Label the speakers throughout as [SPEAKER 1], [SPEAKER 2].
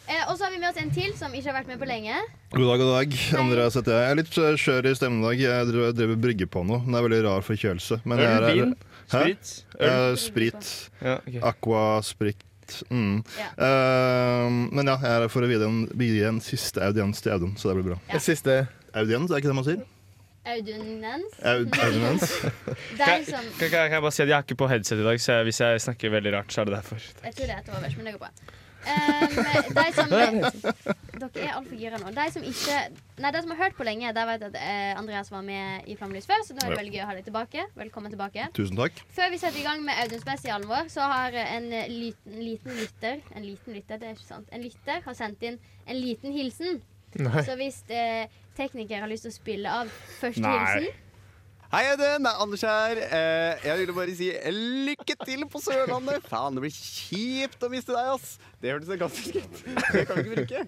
[SPEAKER 1] Eh, og så har vi med oss en til som ikke har vært med på lenge.
[SPEAKER 2] God dag, god dag. Andreas heter jeg. Jeg er litt eh, skjør i stemmen i dag. Jeg driver- driver brygge på noe. Det er veldig rar forkjølelse. Men jeg er,
[SPEAKER 3] Øl, vin,
[SPEAKER 2] Hæ?
[SPEAKER 3] sprit, øl.
[SPEAKER 2] Eh, sprit.
[SPEAKER 3] Ja, ok.
[SPEAKER 2] Aqua sprit. Mm.
[SPEAKER 1] Ja.
[SPEAKER 2] Eh, men ja, jeg er her for å gi en, gi en siste audiens til Audun, så det blir bra.
[SPEAKER 1] Ja.
[SPEAKER 4] Det siste.
[SPEAKER 2] Audiens, er ikke det man sier?
[SPEAKER 1] Audunens.
[SPEAKER 2] Aud audiens.
[SPEAKER 1] De
[SPEAKER 3] Kan,
[SPEAKER 1] som
[SPEAKER 3] kan, kan, kan jeg bare si at jeg har ikke på headset i dag, så jeg, hvis jeg snakker veldig rart, så er det derfor.
[SPEAKER 1] Jeg tror det er et overs, men det går bra. Um, de som Dere er altfor gira nå. De som ikke Nei, de som har hørt på lenge, de vet at eh, Andreas var med i Flammelys før, så nå er det veldig gøy å ha deg tilbake. Velkommen tilbake.
[SPEAKER 2] Tusen takk.
[SPEAKER 1] Før vi setter i gang med Audun-spesialen vår, så har en liten, liten lytter En liten lytter, det er ikke sant. En lytter har sendt inn en liten hilsen.
[SPEAKER 4] Nei.
[SPEAKER 1] Så hvis eh, tekniker har lyst til å spille av første
[SPEAKER 3] Nei.
[SPEAKER 1] hilsen
[SPEAKER 5] Hei, Audun. Det er Anders her. Eh, jeg ville bare si lykke til på Sørlandet. Faen, det blir kjipt å miste deg, ass. Det hørtes sarkastisk ut. Det kan vi ikke bruke.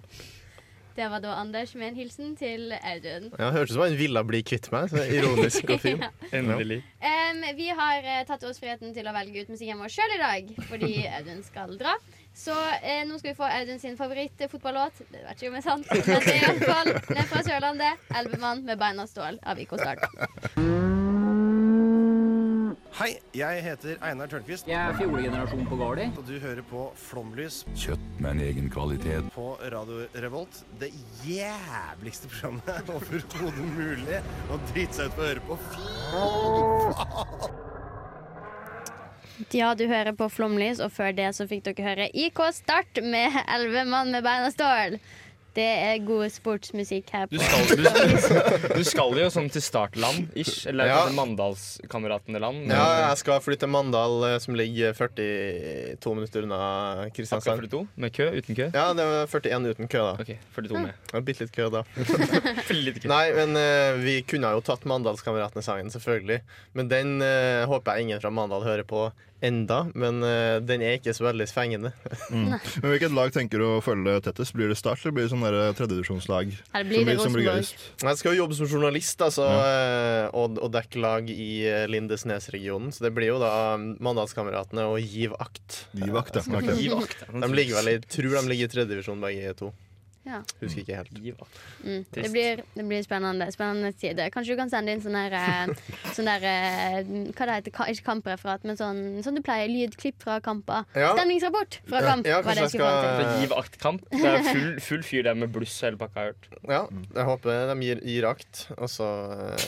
[SPEAKER 1] Det var da Anders med en hilsen til Audun.
[SPEAKER 4] Ja, hørtes ut som han ville bli kvitt meg. Så ironisk og fin.
[SPEAKER 3] Endelig.
[SPEAKER 1] Em, vi har eh, tatt oss friheten til å velge ut musikken vår sjøl i dag, fordi Audun skal dra. Så eh, nå skal vi få Audun sin favorittfotballåt. Det vet ikke om det er sant, men det er iallfall ned fra Sørlandet. 'Elvemann med bein av stål' av IK Start.
[SPEAKER 6] Hei, jeg heter Einar Tørnquist,
[SPEAKER 7] Jeg er fjolegenerasjon på Gardi.
[SPEAKER 6] og du hører på Flomlys
[SPEAKER 8] Kjøtt med en egen kvalitet.
[SPEAKER 6] på Radio Revolt. Det jævligste programmet overhodet mulig å drite seg ut på å høre på.
[SPEAKER 1] Ja, du hører på Flomlys, og før det så fikk dere høre IK Start med 'Elleve mann med bein av stål'. Det er god sportsmusikk her
[SPEAKER 3] Du
[SPEAKER 1] på
[SPEAKER 3] skal, du, du skal jo sånn til startland, ish. Eller
[SPEAKER 4] Ja.
[SPEAKER 3] sånn Mandalskameratene-land.
[SPEAKER 4] Ja, jeg skal flytte til Mandal, eh, som ligger 42 minutter unna
[SPEAKER 3] Akka
[SPEAKER 4] Kristiansand.
[SPEAKER 3] 42 med kø, uten kø.
[SPEAKER 4] Ja, det var 41 uten kø, da.
[SPEAKER 3] OK, 42 med.
[SPEAKER 4] Det var Bitte litt kø, da.
[SPEAKER 3] Litt kø.
[SPEAKER 4] Nei, men eh, vi kunne jo tatt Mandalskameratene-sangen, selvfølgelig. Men den eh, håper jeg ingen fra Mandal hører på enda. Men eh, den er ikke så veldig fengende.
[SPEAKER 2] Men hvilket lag tenker du å følge tettest? Blir det Start eller blir det sånn der tredjedivisjonslag?
[SPEAKER 1] Her blir det Rosenborg.
[SPEAKER 4] Jeg skal jo jobbe som journalist altså, eh, og, og dekke lag i eh, Lindesnes-regionen. Så det blir jo da um, Mandalskameratene og Giv akt.
[SPEAKER 2] Gi vakt, ja. Ok.
[SPEAKER 3] Gi vakt.
[SPEAKER 4] De ligger vel i, tror de ligger i tredjedivisjon, begge to.
[SPEAKER 1] Ja.
[SPEAKER 4] Husker ikke helt.
[SPEAKER 3] Gi vakt.
[SPEAKER 1] Mm. Det,
[SPEAKER 3] Trist.
[SPEAKER 1] blir, det blir spennende. Spennende tider. Kanskje du kan sende inn sånn der, eh, sånn der eh, Hva det heter Ka Ikke kampreferat, men sånn, sånn du pleier. Lydklipp fra kamper.
[SPEAKER 4] Ja.
[SPEAKER 1] Stemningsrapport fra
[SPEAKER 4] Ja,
[SPEAKER 1] kamp.
[SPEAKER 4] ja,
[SPEAKER 1] var det jeg
[SPEAKER 4] kanskje jeg
[SPEAKER 1] skulle fram til.
[SPEAKER 3] Det er Gi vakt-kamp. Det er full, full fyr der med bluss og hele pakka, jeg har hørt.
[SPEAKER 4] Ja, jeg håper de gir, gir akt, og så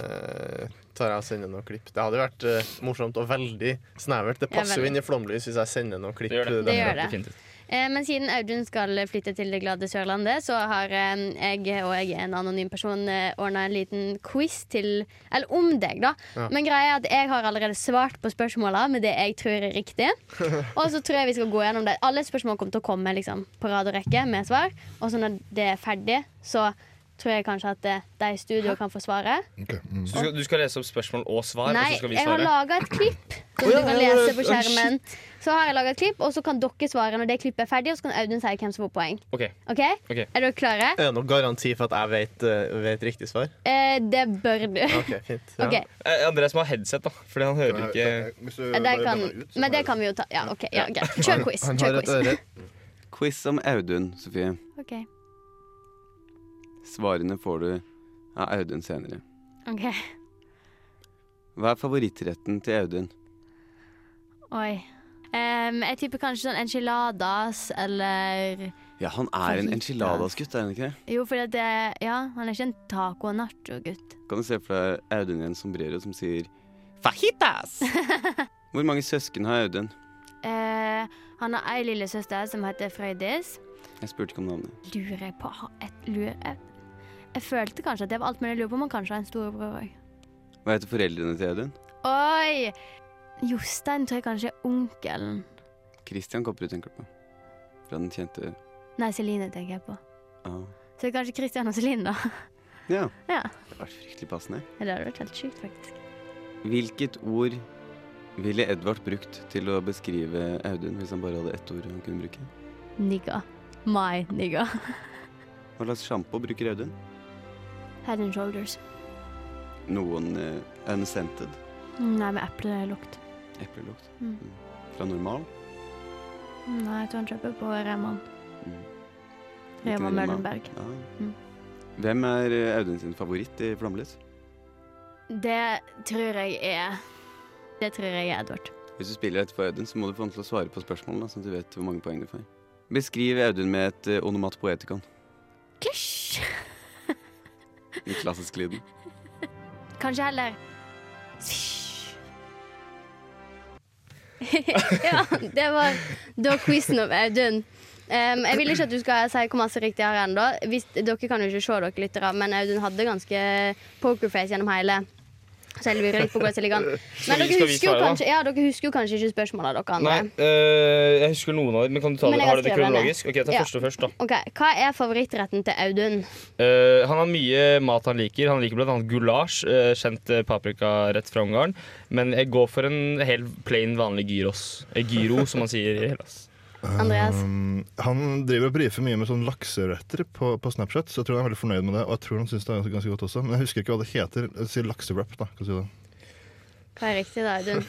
[SPEAKER 4] eh, tar jeg og sender noen klipp. Det hadde jo vært eh, morsomt og veldig snevert. Det
[SPEAKER 1] Ja,
[SPEAKER 4] passer
[SPEAKER 1] veldig.
[SPEAKER 4] jo inn i Flomlys hvis jeg sender noen klipp.
[SPEAKER 3] Det gjør det.
[SPEAKER 1] Det gjør det.
[SPEAKER 3] Fint ut.
[SPEAKER 1] Eh, Men siden Audun skal flytte til det glade Sørlandet, så har eh, jeg og jeg er en anonym person ordna en liten quiz til Eller om deg, da.
[SPEAKER 4] Ja.
[SPEAKER 1] Men greia er at jeg har allerede svart på spørsmåla med det jeg tror er riktig. Og så tror jeg vi skal gå gjennom det. Alle spørsmål kommer til å komme liksom, på rad og rekke med svar. Og så når det er ferdig, så tror jeg kanskje at eh, de i studio kan få svaret.
[SPEAKER 2] Ok, mm.
[SPEAKER 3] Så du skal, du skal lese opp spørsmål og svar,
[SPEAKER 1] Nei,
[SPEAKER 3] og så skal vi
[SPEAKER 1] jeg har
[SPEAKER 3] svare?
[SPEAKER 1] laga et klipp som du kan lese på skjermen. Så har jeg laget et klipp, og så kan dere svare når det klippet er ferdig, og så kan Audun si hvem som får poeng.
[SPEAKER 3] OK.
[SPEAKER 1] Ok?
[SPEAKER 3] Ok.
[SPEAKER 1] Er dere klare?
[SPEAKER 4] Er det noen garanti for at jeg vet, eh, vet riktig svar?
[SPEAKER 1] Eh, det bør du.
[SPEAKER 4] OK, fint. Ja.
[SPEAKER 1] Ok,
[SPEAKER 3] Eh, Andreas må ha headset, da, fordi han hører ikke
[SPEAKER 2] Hvis du
[SPEAKER 1] det
[SPEAKER 2] bare
[SPEAKER 1] kan,
[SPEAKER 2] blander ut, så
[SPEAKER 1] Men det
[SPEAKER 2] er
[SPEAKER 1] kan vi jo ta. Ja, ok, ja, greit. Kjør quiz.
[SPEAKER 4] Han
[SPEAKER 1] Kjør
[SPEAKER 4] har et
[SPEAKER 1] quiz.
[SPEAKER 4] eh, øre.
[SPEAKER 5] Quiz om Audun, Sofie.
[SPEAKER 1] Ok,
[SPEAKER 5] Svarene får du av Audun senere.
[SPEAKER 1] ok
[SPEAKER 5] Hva er favorittretten til Audun?
[SPEAKER 1] Oi. Em, jeg tipper kanskje sånn enchiladas eller
[SPEAKER 5] Ja, han er en
[SPEAKER 1] Favoritt,
[SPEAKER 5] enchiladas-gutt, er han ikke det?
[SPEAKER 1] Jo, fordi at det Ja, han er ikke en taco- og nacho-gutt.
[SPEAKER 5] Kan du se for deg Audun i en sombrero som sier fajitas? Hvor mange søsken har Audun?
[SPEAKER 1] Eh, han har ei lillesøster som heter Frøydis.
[SPEAKER 5] Jeg spurte ikke om navnet.
[SPEAKER 1] Lurer jeg på har et lurer jeg, jeg følte kanskje at det var alt, men jeg lurer på om han kanskje har en storebror òg.
[SPEAKER 5] Hva heter foreldrene til Audun?
[SPEAKER 1] Oi! Jostein tror jeg kanskje er onkelen.
[SPEAKER 5] Christian Kopperud tenker du på. Fra den kjente
[SPEAKER 1] Nei, Celine tenker jeg på.
[SPEAKER 5] ah.
[SPEAKER 1] Så det er kanskje Christian og Celine, da.
[SPEAKER 5] Ja.
[SPEAKER 1] Ja.
[SPEAKER 5] Det var fryktelig passende.
[SPEAKER 1] Det hadde vært helt sjukt, faktisk.
[SPEAKER 5] Hvilket ord ville Edvard brukt til å beskrive Audun, hvis han bare hadde ett ord han kunne bruke?
[SPEAKER 1] Nigga. My nigga.
[SPEAKER 5] Hva slags sjampo bruker Audun?
[SPEAKER 1] Head and shoulders.
[SPEAKER 5] Noen eh, unscented.
[SPEAKER 1] Nei, med eplelukt.
[SPEAKER 5] Eplelukt.
[SPEAKER 1] Mm.
[SPEAKER 5] Mm. Fra normal.
[SPEAKER 1] Nei, jeg tror han kjøper på Reman.
[SPEAKER 5] Mm.
[SPEAKER 1] Rema
[SPEAKER 5] Ikke Rema.
[SPEAKER 1] Møllenberg.
[SPEAKER 5] Ja.
[SPEAKER 1] Mm.
[SPEAKER 5] Hvem er eh, Audun sin favoritt i Flåmlys?
[SPEAKER 1] Det tror jeg er Det tror jeg er Edvard.
[SPEAKER 5] Hvis du spiller etterpå Audun, så må du få han til å svare på spørsmålene, sånn at du vet hvor mange poeng du får. Beskriv Audun med et eh, onomat poetikon.
[SPEAKER 1] Klisj!
[SPEAKER 5] I klassisk lyden.
[SPEAKER 1] Kanskje heller Svisj. ja, det var da quizen om Audun. Em, jeg vil ikke at du skal si hvor masse riktig jeg har ennå. Hvis- Dere kan jo ikke se dere lyttere, men Audun hadde ganske pokerface gjennom hele. Så jeg lurer litt på hvordan det ligger an. Men
[SPEAKER 3] Skal vi-
[SPEAKER 1] dere
[SPEAKER 3] skal vi
[SPEAKER 1] husker, jo
[SPEAKER 3] svare, da?
[SPEAKER 1] kanskje, ja, dere husker jo kanskje ikke spørsmålene dere
[SPEAKER 3] Nei,
[SPEAKER 1] andre.
[SPEAKER 3] eh, jeg husker noen av dem. Men kan du ta
[SPEAKER 1] Men jeg
[SPEAKER 3] det?
[SPEAKER 1] har
[SPEAKER 3] Har du det
[SPEAKER 1] skrevet ned.
[SPEAKER 3] kronologisk? Ok, jeg tar
[SPEAKER 1] Ja.
[SPEAKER 3] første først, da.
[SPEAKER 1] Ok, Hva er favorittretten til Audun?
[SPEAKER 3] Eh, han har mye mat han liker. Han liker bl.a. gulasj, eh, kjent eh, paprikarett fra Ungarn. Men jeg går for en helt plain, vanlig gyros. Eh, gyro, som man sier i Hellas.
[SPEAKER 1] Andreas?
[SPEAKER 2] Um, han driver og brifer mye med sånn lakseretter på, på Snapchat, så jeg tror han er veldig fornøyd med det. Og jeg tror han syns det er ganske godt også, men jeg husker ikke hva det heter. Si laksewrap, da. Kan du si det.
[SPEAKER 1] Hva er riktig da, Audun?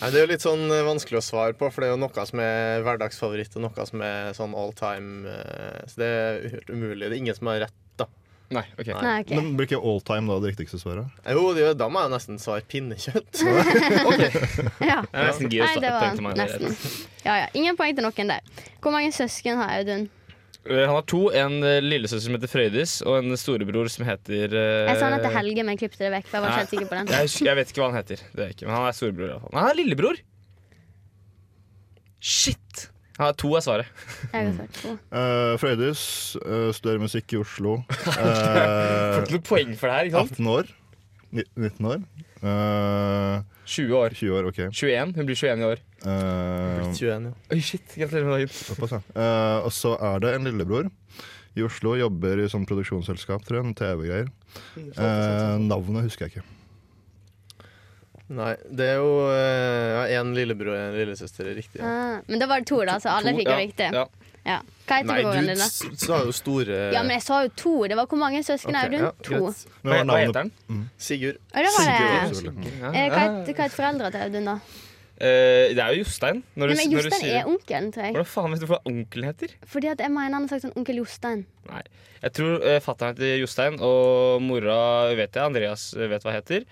[SPEAKER 4] Nei, det er jo litt sånn eh, vanskelig å svare på, for det er jo noe som er hverdagsfavoritt, og noe som er sånn all time. eh, Så det er helt umulig. Det er ingen som har rett, da.
[SPEAKER 3] Nei, ok.
[SPEAKER 1] Nei, ok.
[SPEAKER 2] Men blir ikke all time da det riktigste svaret?
[SPEAKER 4] Jo, det, da må jeg jo nesten svare pinnekjøtt.
[SPEAKER 1] Ja.
[SPEAKER 3] Det er nesten gyros.
[SPEAKER 1] Nei, det
[SPEAKER 3] da,
[SPEAKER 1] var
[SPEAKER 3] tenkte meg.
[SPEAKER 1] nesten. Ja, ja. Ingen poeng til noen der. Hvor mange søsken har Audun?
[SPEAKER 3] Eh, han har to. En eh, lillesøster som heter Frøydis, og en storebror som heter eh,
[SPEAKER 1] Jeg sa han heter Helge, men klippte det vekk. for Jeg var ikke helt sikker på den.
[SPEAKER 3] Jeg, husker, jeg vet ikke hva han heter. Det er jeg ikke, men han er storebror. i hvert fall. Men han er lillebror! Shit! Ja, to er svaret.
[SPEAKER 1] Jeg har svart to.
[SPEAKER 2] Uh, Frøydis, eh, studerer musikk i Oslo. Eh,
[SPEAKER 3] Får ikke noe poeng for det her. ikke sant?
[SPEAKER 2] 18 år. Ni- 19 år. Eh,
[SPEAKER 3] 20 år.
[SPEAKER 2] 20 år, OK.
[SPEAKER 3] 21. Hun blir 21 i år.
[SPEAKER 2] Eh,
[SPEAKER 4] 21, ja.
[SPEAKER 3] Oi, shit. Gratulerer med dagen.
[SPEAKER 2] Såpass, ja. Eh, og så er det en lillebror i Oslo. Jobber i sånn produksjonsselskap, tror jeg. noen TV-greier. Eh, navnet husker jeg ikke.
[SPEAKER 4] Nei, det er jo eh, ja, en lillebror og en lillesøster, er riktig. Ja.
[SPEAKER 1] Ah, men da var det to, da, så alle
[SPEAKER 3] To-
[SPEAKER 1] fikk jo
[SPEAKER 3] ja,
[SPEAKER 1] riktig.
[SPEAKER 3] Ja.
[SPEAKER 1] Ja. Hva heter
[SPEAKER 4] Nei,
[SPEAKER 1] broren
[SPEAKER 4] du
[SPEAKER 1] din, da?
[SPEAKER 4] s- sa jo store
[SPEAKER 1] Ja, men jeg sa jo to. Det var hvor mange søsken
[SPEAKER 4] Ok,
[SPEAKER 1] har Audun?
[SPEAKER 4] ja,
[SPEAKER 1] to.
[SPEAKER 4] greit.
[SPEAKER 2] Men hva er
[SPEAKER 3] Hva
[SPEAKER 2] navnet-
[SPEAKER 3] heter han?
[SPEAKER 4] Sigurd.
[SPEAKER 1] Ja, det var det.
[SPEAKER 2] Sigurd, selvfølgelig.
[SPEAKER 1] Eh, Hva het- hva het foreldra til Audun, da?
[SPEAKER 3] Eh, det er jo Jostein.
[SPEAKER 1] Nei,
[SPEAKER 3] Når du,
[SPEAKER 1] men
[SPEAKER 3] når du
[SPEAKER 1] Jostein
[SPEAKER 3] sier
[SPEAKER 1] er onkelen, tror jeg.
[SPEAKER 3] Hvordan faen vet du hva onkelen heter?
[SPEAKER 1] Fordi at jeg mener han har sagt sånn onkel Jostein.
[SPEAKER 3] Nei. Jeg tror uh, fatter'n heter Jostein, og mora vet jeg. Andreas eh, vet hva hun heter.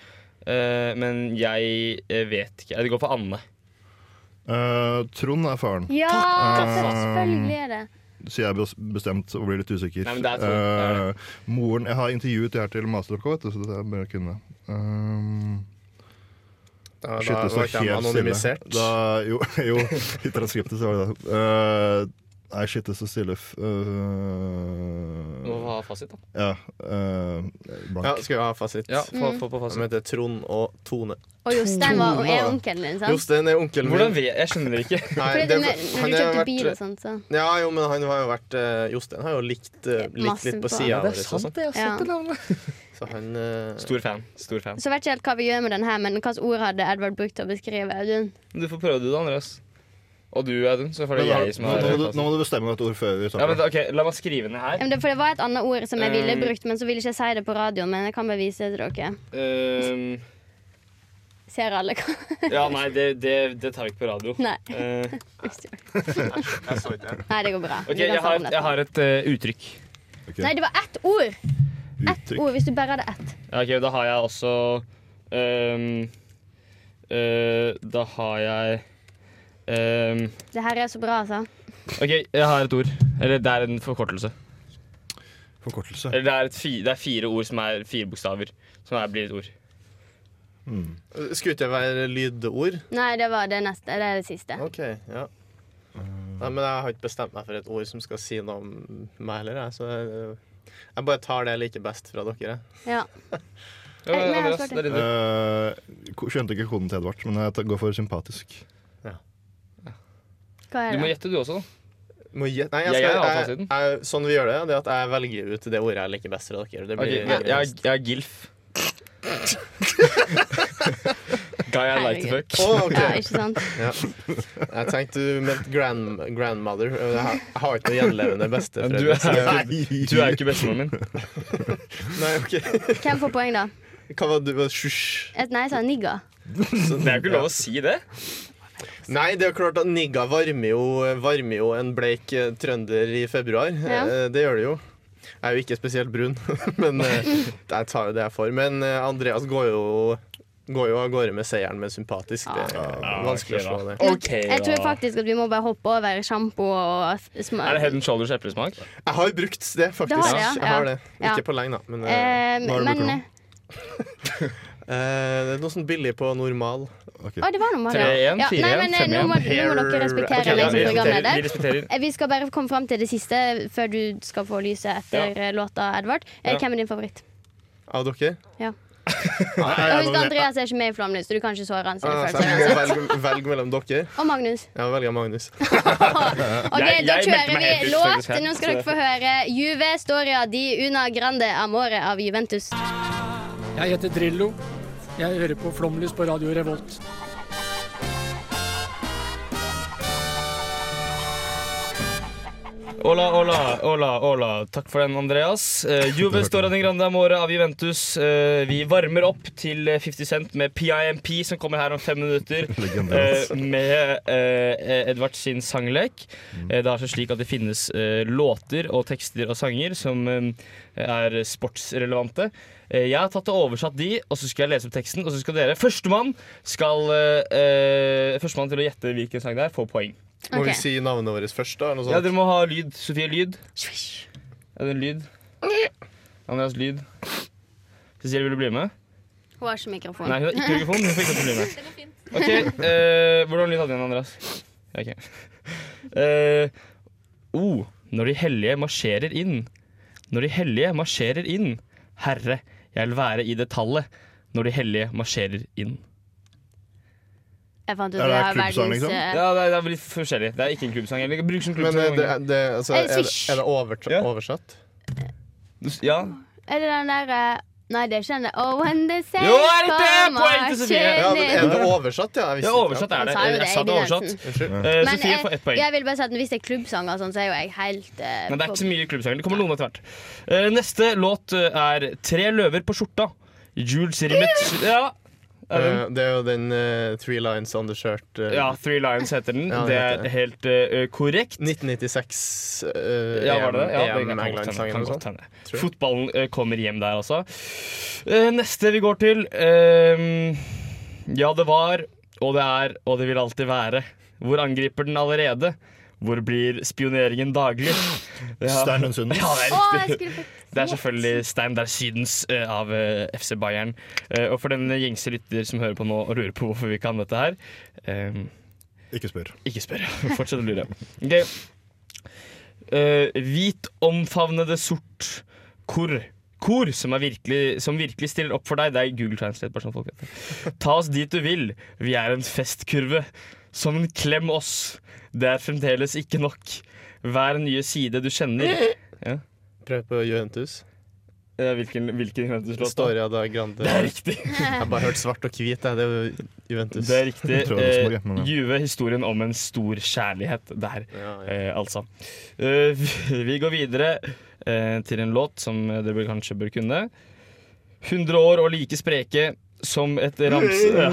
[SPEAKER 3] Eh, men jeg eh, vet ikke. Det går for Anne.
[SPEAKER 2] Eh, Trond er faren.
[SPEAKER 1] Ja,
[SPEAKER 2] altså.
[SPEAKER 1] selvfølgelig er det.
[SPEAKER 2] Så jeg bes- bestemt og blir litt usikker.
[SPEAKER 3] Nei, men det er Trond, det er
[SPEAKER 2] Eh, moren Jeg har intervjuet det her til masteroppgave, vet du, så det er bare å kunne. Um,
[SPEAKER 4] Da,
[SPEAKER 2] shit,
[SPEAKER 4] da
[SPEAKER 2] det står
[SPEAKER 4] var ikke de
[SPEAKER 2] helt
[SPEAKER 4] anonymisert.
[SPEAKER 2] stille. Da, jo, jo, i transkriptet så var det det. Eh, nei, shit, det står stille. F- eh,
[SPEAKER 3] Nå har jeg fasit, da.
[SPEAKER 2] ja, eh, blank.
[SPEAKER 4] Ja, skal vi ha fasit?
[SPEAKER 3] Ja, få,
[SPEAKER 1] Mm.
[SPEAKER 3] få på
[SPEAKER 4] De
[SPEAKER 3] fasit.
[SPEAKER 4] heter Trond og Tone.
[SPEAKER 1] Og Jostein var, og er
[SPEAKER 4] da.
[SPEAKER 1] onkelen din, sant?
[SPEAKER 4] Jostein er onkelen min.
[SPEAKER 3] Hvordan vet Jeg skjønner ikke.
[SPEAKER 4] Nei,
[SPEAKER 1] Fordi at
[SPEAKER 4] det-
[SPEAKER 1] når,
[SPEAKER 4] han
[SPEAKER 1] når du
[SPEAKER 4] har
[SPEAKER 1] kjøpte
[SPEAKER 4] vært-
[SPEAKER 1] bil og sånt, så
[SPEAKER 4] Ja, jo, men han har jo vært eh, Jostein har jo likt, eh, likt
[SPEAKER 1] Masse
[SPEAKER 4] litt
[SPEAKER 1] på-
[SPEAKER 4] på sida vår. og sånn.
[SPEAKER 3] det. Jeg
[SPEAKER 1] sett det
[SPEAKER 3] navnet.
[SPEAKER 4] Så han eh,
[SPEAKER 3] Stor fan. stor fan
[SPEAKER 1] Så vet ikke helt hva vi gjør med den her, men hvilke ord hadde Edvard brukt til å beskrive Audun?
[SPEAKER 3] Du får prøve det, da, Andreas. Og du, Audun. Så får det
[SPEAKER 2] Men da-
[SPEAKER 3] jeg som
[SPEAKER 2] nå,
[SPEAKER 3] har
[SPEAKER 2] må du, nå
[SPEAKER 3] fasit.
[SPEAKER 2] må du bestemme deg et ord før vi
[SPEAKER 3] Ja,
[SPEAKER 2] starter.
[SPEAKER 3] men, da- ok, La meg skrive ned
[SPEAKER 1] Ja,
[SPEAKER 3] her.
[SPEAKER 1] men det- For det var et annet ord som jeg ville
[SPEAKER 3] Um,
[SPEAKER 1] brukt, men så ville ikke jeg si det på radioen. Men jeg kan bevise det til dere.
[SPEAKER 3] Eh,
[SPEAKER 1] Ser alle hva
[SPEAKER 3] ja, nei, det, det, det tar vi ikke på radio.
[SPEAKER 1] Nei.
[SPEAKER 3] Eh, jeg så ikke.
[SPEAKER 1] Nei, det går bra.
[SPEAKER 3] Ok,
[SPEAKER 1] Vi kan
[SPEAKER 3] jeg
[SPEAKER 1] snakke om
[SPEAKER 3] har et,
[SPEAKER 1] dette.
[SPEAKER 3] jeg har et eh, uttrykk.
[SPEAKER 1] Nei, det var ett ord! Ett
[SPEAKER 2] Uttrykk.
[SPEAKER 1] ord, Hvis du bare hadde ett.
[SPEAKER 3] Ja, Ok, Da har jeg også Ehm, eh, da har jeg ehm,
[SPEAKER 1] Det her er så bra, altså.
[SPEAKER 3] OK, jeg har et ord. Eller det er en forkortelse.
[SPEAKER 2] Forkortelse.
[SPEAKER 3] Eller det er, et fi, det er fire ord som er fire bokstaver, som er, blir et ord.
[SPEAKER 4] Skulle ikke det være lydord?
[SPEAKER 1] Nei, det var det neste. Det er det siste.
[SPEAKER 4] OK, ja.
[SPEAKER 3] Mm.
[SPEAKER 4] Nei, men jeg har ikke bestemt meg for et ord som skal si noe om meg heller, jeg, så jeg, jeg bare tar det jeg liker best fra dere.
[SPEAKER 1] Ja.
[SPEAKER 3] Ja,
[SPEAKER 1] Eh, men jeg har
[SPEAKER 3] Andreas,
[SPEAKER 1] svart
[SPEAKER 3] det er din tur.
[SPEAKER 2] Eh, ko- skjønte ikke koden til Edvard, men jeg ta- går for sympatisk.
[SPEAKER 1] Hva er
[SPEAKER 3] Du må
[SPEAKER 1] det?
[SPEAKER 3] gjette, du også. da
[SPEAKER 4] Må jeg, nei, jeg
[SPEAKER 3] Jeg-
[SPEAKER 4] skal,
[SPEAKER 3] jeg har
[SPEAKER 4] jeg,
[SPEAKER 3] fasiten.
[SPEAKER 4] jeg, sånn vi gjør det, det er at jeg velger ut det ordet jeg liker best fra dere. Det blir
[SPEAKER 3] Ok, jeg, jeg, jeg er GILF. Guy I like to fuck.
[SPEAKER 4] Å, ok.
[SPEAKER 1] Ja, ikke sant?
[SPEAKER 4] Jeg tenkte du mente grand, grandmother. Jeg har, jeg har ikke noe gjenlevende
[SPEAKER 3] Men
[SPEAKER 4] besteforeldre.
[SPEAKER 3] Du er,
[SPEAKER 4] så-
[SPEAKER 3] du er jo ikke bestemoren min.
[SPEAKER 4] Nei, ok.
[SPEAKER 1] Hvem får poeng, da?
[SPEAKER 4] Hva var du? var det Sjusj.
[SPEAKER 1] Et nei, sa nigga.
[SPEAKER 4] Så-
[SPEAKER 3] Det er jo ikke lov å si det.
[SPEAKER 4] Nei, det er jo klart at nigga varmer jo, varmer jo en bleik eh, trønder i februar.
[SPEAKER 1] Ja.
[SPEAKER 4] Eh, Det gjør det jo. Jeg er jo ikke spesielt brun, men eh, jeg tar jo det jeg får. Men eh, Andreas går jo, går jo av gårde med seieren med sympatisk. Det
[SPEAKER 1] Ah.
[SPEAKER 4] er vanskelig å slå det.
[SPEAKER 3] Ok,
[SPEAKER 1] Jeg tror
[SPEAKER 3] da.
[SPEAKER 1] faktisk at vi må bare hoppe over sjampo og smør.
[SPEAKER 3] Er det Head and Shoulders eplesmak?
[SPEAKER 4] Jeg har brukt det, faktisk.
[SPEAKER 1] Det har det, ja.
[SPEAKER 4] Jeg har
[SPEAKER 1] Ja.
[SPEAKER 4] det.
[SPEAKER 1] Ja.
[SPEAKER 4] Ikke på lenge, da. Men eh,
[SPEAKER 1] Eh,
[SPEAKER 2] Hva er det
[SPEAKER 1] men
[SPEAKER 2] bruker
[SPEAKER 1] Å,
[SPEAKER 2] nå?
[SPEAKER 4] eh, det er noe sånn billig på normal.
[SPEAKER 1] det var noe med det.
[SPEAKER 3] 3-1,
[SPEAKER 1] Ja,
[SPEAKER 3] 4-1,
[SPEAKER 1] Nei, men eh, nå må, nå må dere
[SPEAKER 4] Ok,
[SPEAKER 1] respektere
[SPEAKER 4] ja,
[SPEAKER 1] meg som
[SPEAKER 4] vi respekterer-
[SPEAKER 3] vi
[SPEAKER 1] programleder.
[SPEAKER 3] respekterer.
[SPEAKER 1] Eh, Vi skal bare komme fram til det siste før du skal få lyset etter eh, låta, Edvard. Eh,
[SPEAKER 3] Ja.
[SPEAKER 1] Hvem er din favoritt?
[SPEAKER 4] Av dere?
[SPEAKER 1] Ja.
[SPEAKER 4] Nei, jeg
[SPEAKER 1] Og
[SPEAKER 4] er
[SPEAKER 1] husk,
[SPEAKER 4] noe-
[SPEAKER 1] Andreas er ikke med i Flomlys, så du kan ikke såre han. så
[SPEAKER 4] Ah,
[SPEAKER 1] jeg
[SPEAKER 4] så
[SPEAKER 1] føler
[SPEAKER 4] jeg
[SPEAKER 1] ikke
[SPEAKER 4] må
[SPEAKER 1] det.
[SPEAKER 4] velge, velge mellom dere.
[SPEAKER 1] Og Magnus.
[SPEAKER 4] Jeg velger Magnus.
[SPEAKER 1] Ok,
[SPEAKER 3] Jeg-
[SPEAKER 1] Da
[SPEAKER 3] jeg meldte
[SPEAKER 1] kjører
[SPEAKER 3] meg
[SPEAKER 1] vi
[SPEAKER 3] helt ut,
[SPEAKER 1] låt.
[SPEAKER 3] faktisk, her.
[SPEAKER 1] Nå skal dere få høre Juve Storia di Una Grande Amore av Juventus.
[SPEAKER 7] Jeg heter Drillo. Jeg hører på Flomlys på Radio Revolt.
[SPEAKER 3] Hola, hola, hola, hola. Takk for den, Andreas. Eh, Juve står av den grande amore av Juventus. Eh, vi varmer opp til eh, 50 Cent med PIMP, som kommer her om fem minutter.
[SPEAKER 2] Legendarisk.
[SPEAKER 3] eh, med eh, Edvard sin sanglek. Eh, det er så slik at det finnes eh, låter og tekster og sanger som eh, er sportsrelevante. Eh, jeg har tatt og oversatt de, og så skal jeg lese opp teksten. Og så skal dere, førstemann, skal, eh, eh, førstemann til å gjette hvilken sang det er, få poeng.
[SPEAKER 4] Må
[SPEAKER 1] Ok.
[SPEAKER 4] vi si navnet vårt først, da? eller Noe
[SPEAKER 3] Ja,
[SPEAKER 4] sånt?
[SPEAKER 3] dere må ha lyd. Sofie, lyd. Er det en lyd? Andreas, lyd. Cecilie, vil du bli med?
[SPEAKER 1] Hun har ikke mikrofon.
[SPEAKER 3] Nei, hun har ikke mikrofon. Hun får ikke bli med. Ok, eh, Hvordan lyd hadde den, Andreas? Ja, Ok. Eh, oh, når de hellige marsjerer inn. Når de hellige marsjerer inn. Herre, jeg vil være i det tallet. Når de hellige marsjerer inn.
[SPEAKER 1] Jeg fant ut
[SPEAKER 2] Er
[SPEAKER 1] at
[SPEAKER 2] det
[SPEAKER 1] jeg har
[SPEAKER 2] klubbsang,
[SPEAKER 1] verdens
[SPEAKER 2] liksom?
[SPEAKER 1] eh,
[SPEAKER 3] Ja, Det er, det er litt forskjellig. Det er ikke en klubbsang. Eller bruk som
[SPEAKER 4] Men
[SPEAKER 3] klubbsang.
[SPEAKER 4] eh, det, det, altså,
[SPEAKER 1] Eh,
[SPEAKER 4] er, det,
[SPEAKER 1] swish.
[SPEAKER 4] er det overt,
[SPEAKER 3] Ja.
[SPEAKER 4] oversatt?
[SPEAKER 3] ja.
[SPEAKER 1] Er det den der eh, Nei, det er ikke den der Oh, when they say
[SPEAKER 3] Jo, er det det? Poeng til Sofie.
[SPEAKER 4] Ja, men Er det oversatt, ja? Jeg
[SPEAKER 3] ja,
[SPEAKER 4] visste ikke.
[SPEAKER 3] oversatt
[SPEAKER 1] Han
[SPEAKER 3] er det.
[SPEAKER 1] sa jo det
[SPEAKER 3] Jeg sa
[SPEAKER 1] i
[SPEAKER 3] det er
[SPEAKER 1] begynnelsen.
[SPEAKER 3] oversatt.
[SPEAKER 4] Unnskyld.
[SPEAKER 3] Eh,
[SPEAKER 1] Men
[SPEAKER 3] Sofie
[SPEAKER 1] jeg,
[SPEAKER 3] får ett poeng.
[SPEAKER 1] jeg vil bare si at hvis det er klubbsanger, og sånn, så er jo jeg helt eh,
[SPEAKER 3] Men det er ikke
[SPEAKER 1] på-
[SPEAKER 3] så mye klubbsanger. Det kommer noen etter hvert. Eh, neste låt eh, er 'Tre løver på skjorta'. Jules Rimet Ja, er den.
[SPEAKER 4] Eh, Det er jo den eh, Three Lines on the Shirt. eh,
[SPEAKER 3] ja, 'Three Lions' heter den.
[SPEAKER 4] Ja, det
[SPEAKER 3] det
[SPEAKER 4] heter
[SPEAKER 3] er
[SPEAKER 4] det.
[SPEAKER 3] helt eh, korrekt.
[SPEAKER 4] 1996 uh,
[SPEAKER 3] Ja, var det det? Ja, det
[SPEAKER 4] EM
[SPEAKER 3] kan godt hende,
[SPEAKER 4] England-sangen
[SPEAKER 3] kan
[SPEAKER 4] eller noe
[SPEAKER 3] godt
[SPEAKER 4] sånt.
[SPEAKER 3] hende.
[SPEAKER 4] Tror jeg.
[SPEAKER 3] Fotballen eh, kommer hjem der, altså. Eh, neste vi går til eh, Ja, det var, og det er, og det vil alltid være. Hvor angriper den allerede? Hvor blir spioneringen daglig? Ja.
[SPEAKER 2] Stein Lundsunden.
[SPEAKER 3] Ja, det er
[SPEAKER 1] Å,
[SPEAKER 3] riktig.
[SPEAKER 1] jeg skulle fått-
[SPEAKER 3] Det er selvfølgelig Stein der Sydens eh, av eh, FC Bayern. Eh, og for den gjengse lytter som hører på nå og lurer på hvorfor vi kan dette her, eh,
[SPEAKER 2] Ikke spør.
[SPEAKER 3] ikke spør. Fortsett å lure. Ok. Eh, hvit omfavnede sort kor. Kor som, er virkelig, som virkelig stiller opp for deg. Det er Google Translate. bare sånn folk vet det. Ta oss dit du vil. Vi er en festkurve. Som en klem oss. Det er fremdeles ikke nok. Hver nye side du kjenner
[SPEAKER 4] Prøv på Juventus.
[SPEAKER 3] Eh, Hvilken, hvilken Juventus-låt? da?
[SPEAKER 4] Storia da Grande.
[SPEAKER 3] Det er riktig.
[SPEAKER 4] Jeg har bare hørt svart og hvit. jeg. Det er jo Juventus.
[SPEAKER 3] Det er riktig.
[SPEAKER 2] Jeg tror det er
[SPEAKER 3] Eh,
[SPEAKER 2] Rosenborg, men ja.
[SPEAKER 3] Juve, historien om en stor kjærlighet der,
[SPEAKER 4] Ja, ja.
[SPEAKER 3] eh, altså. Eh, vi, vi går videre eh, til en låt som dere bør- kanskje bør kunne. 100 år og like spreke som et ramse... Ja,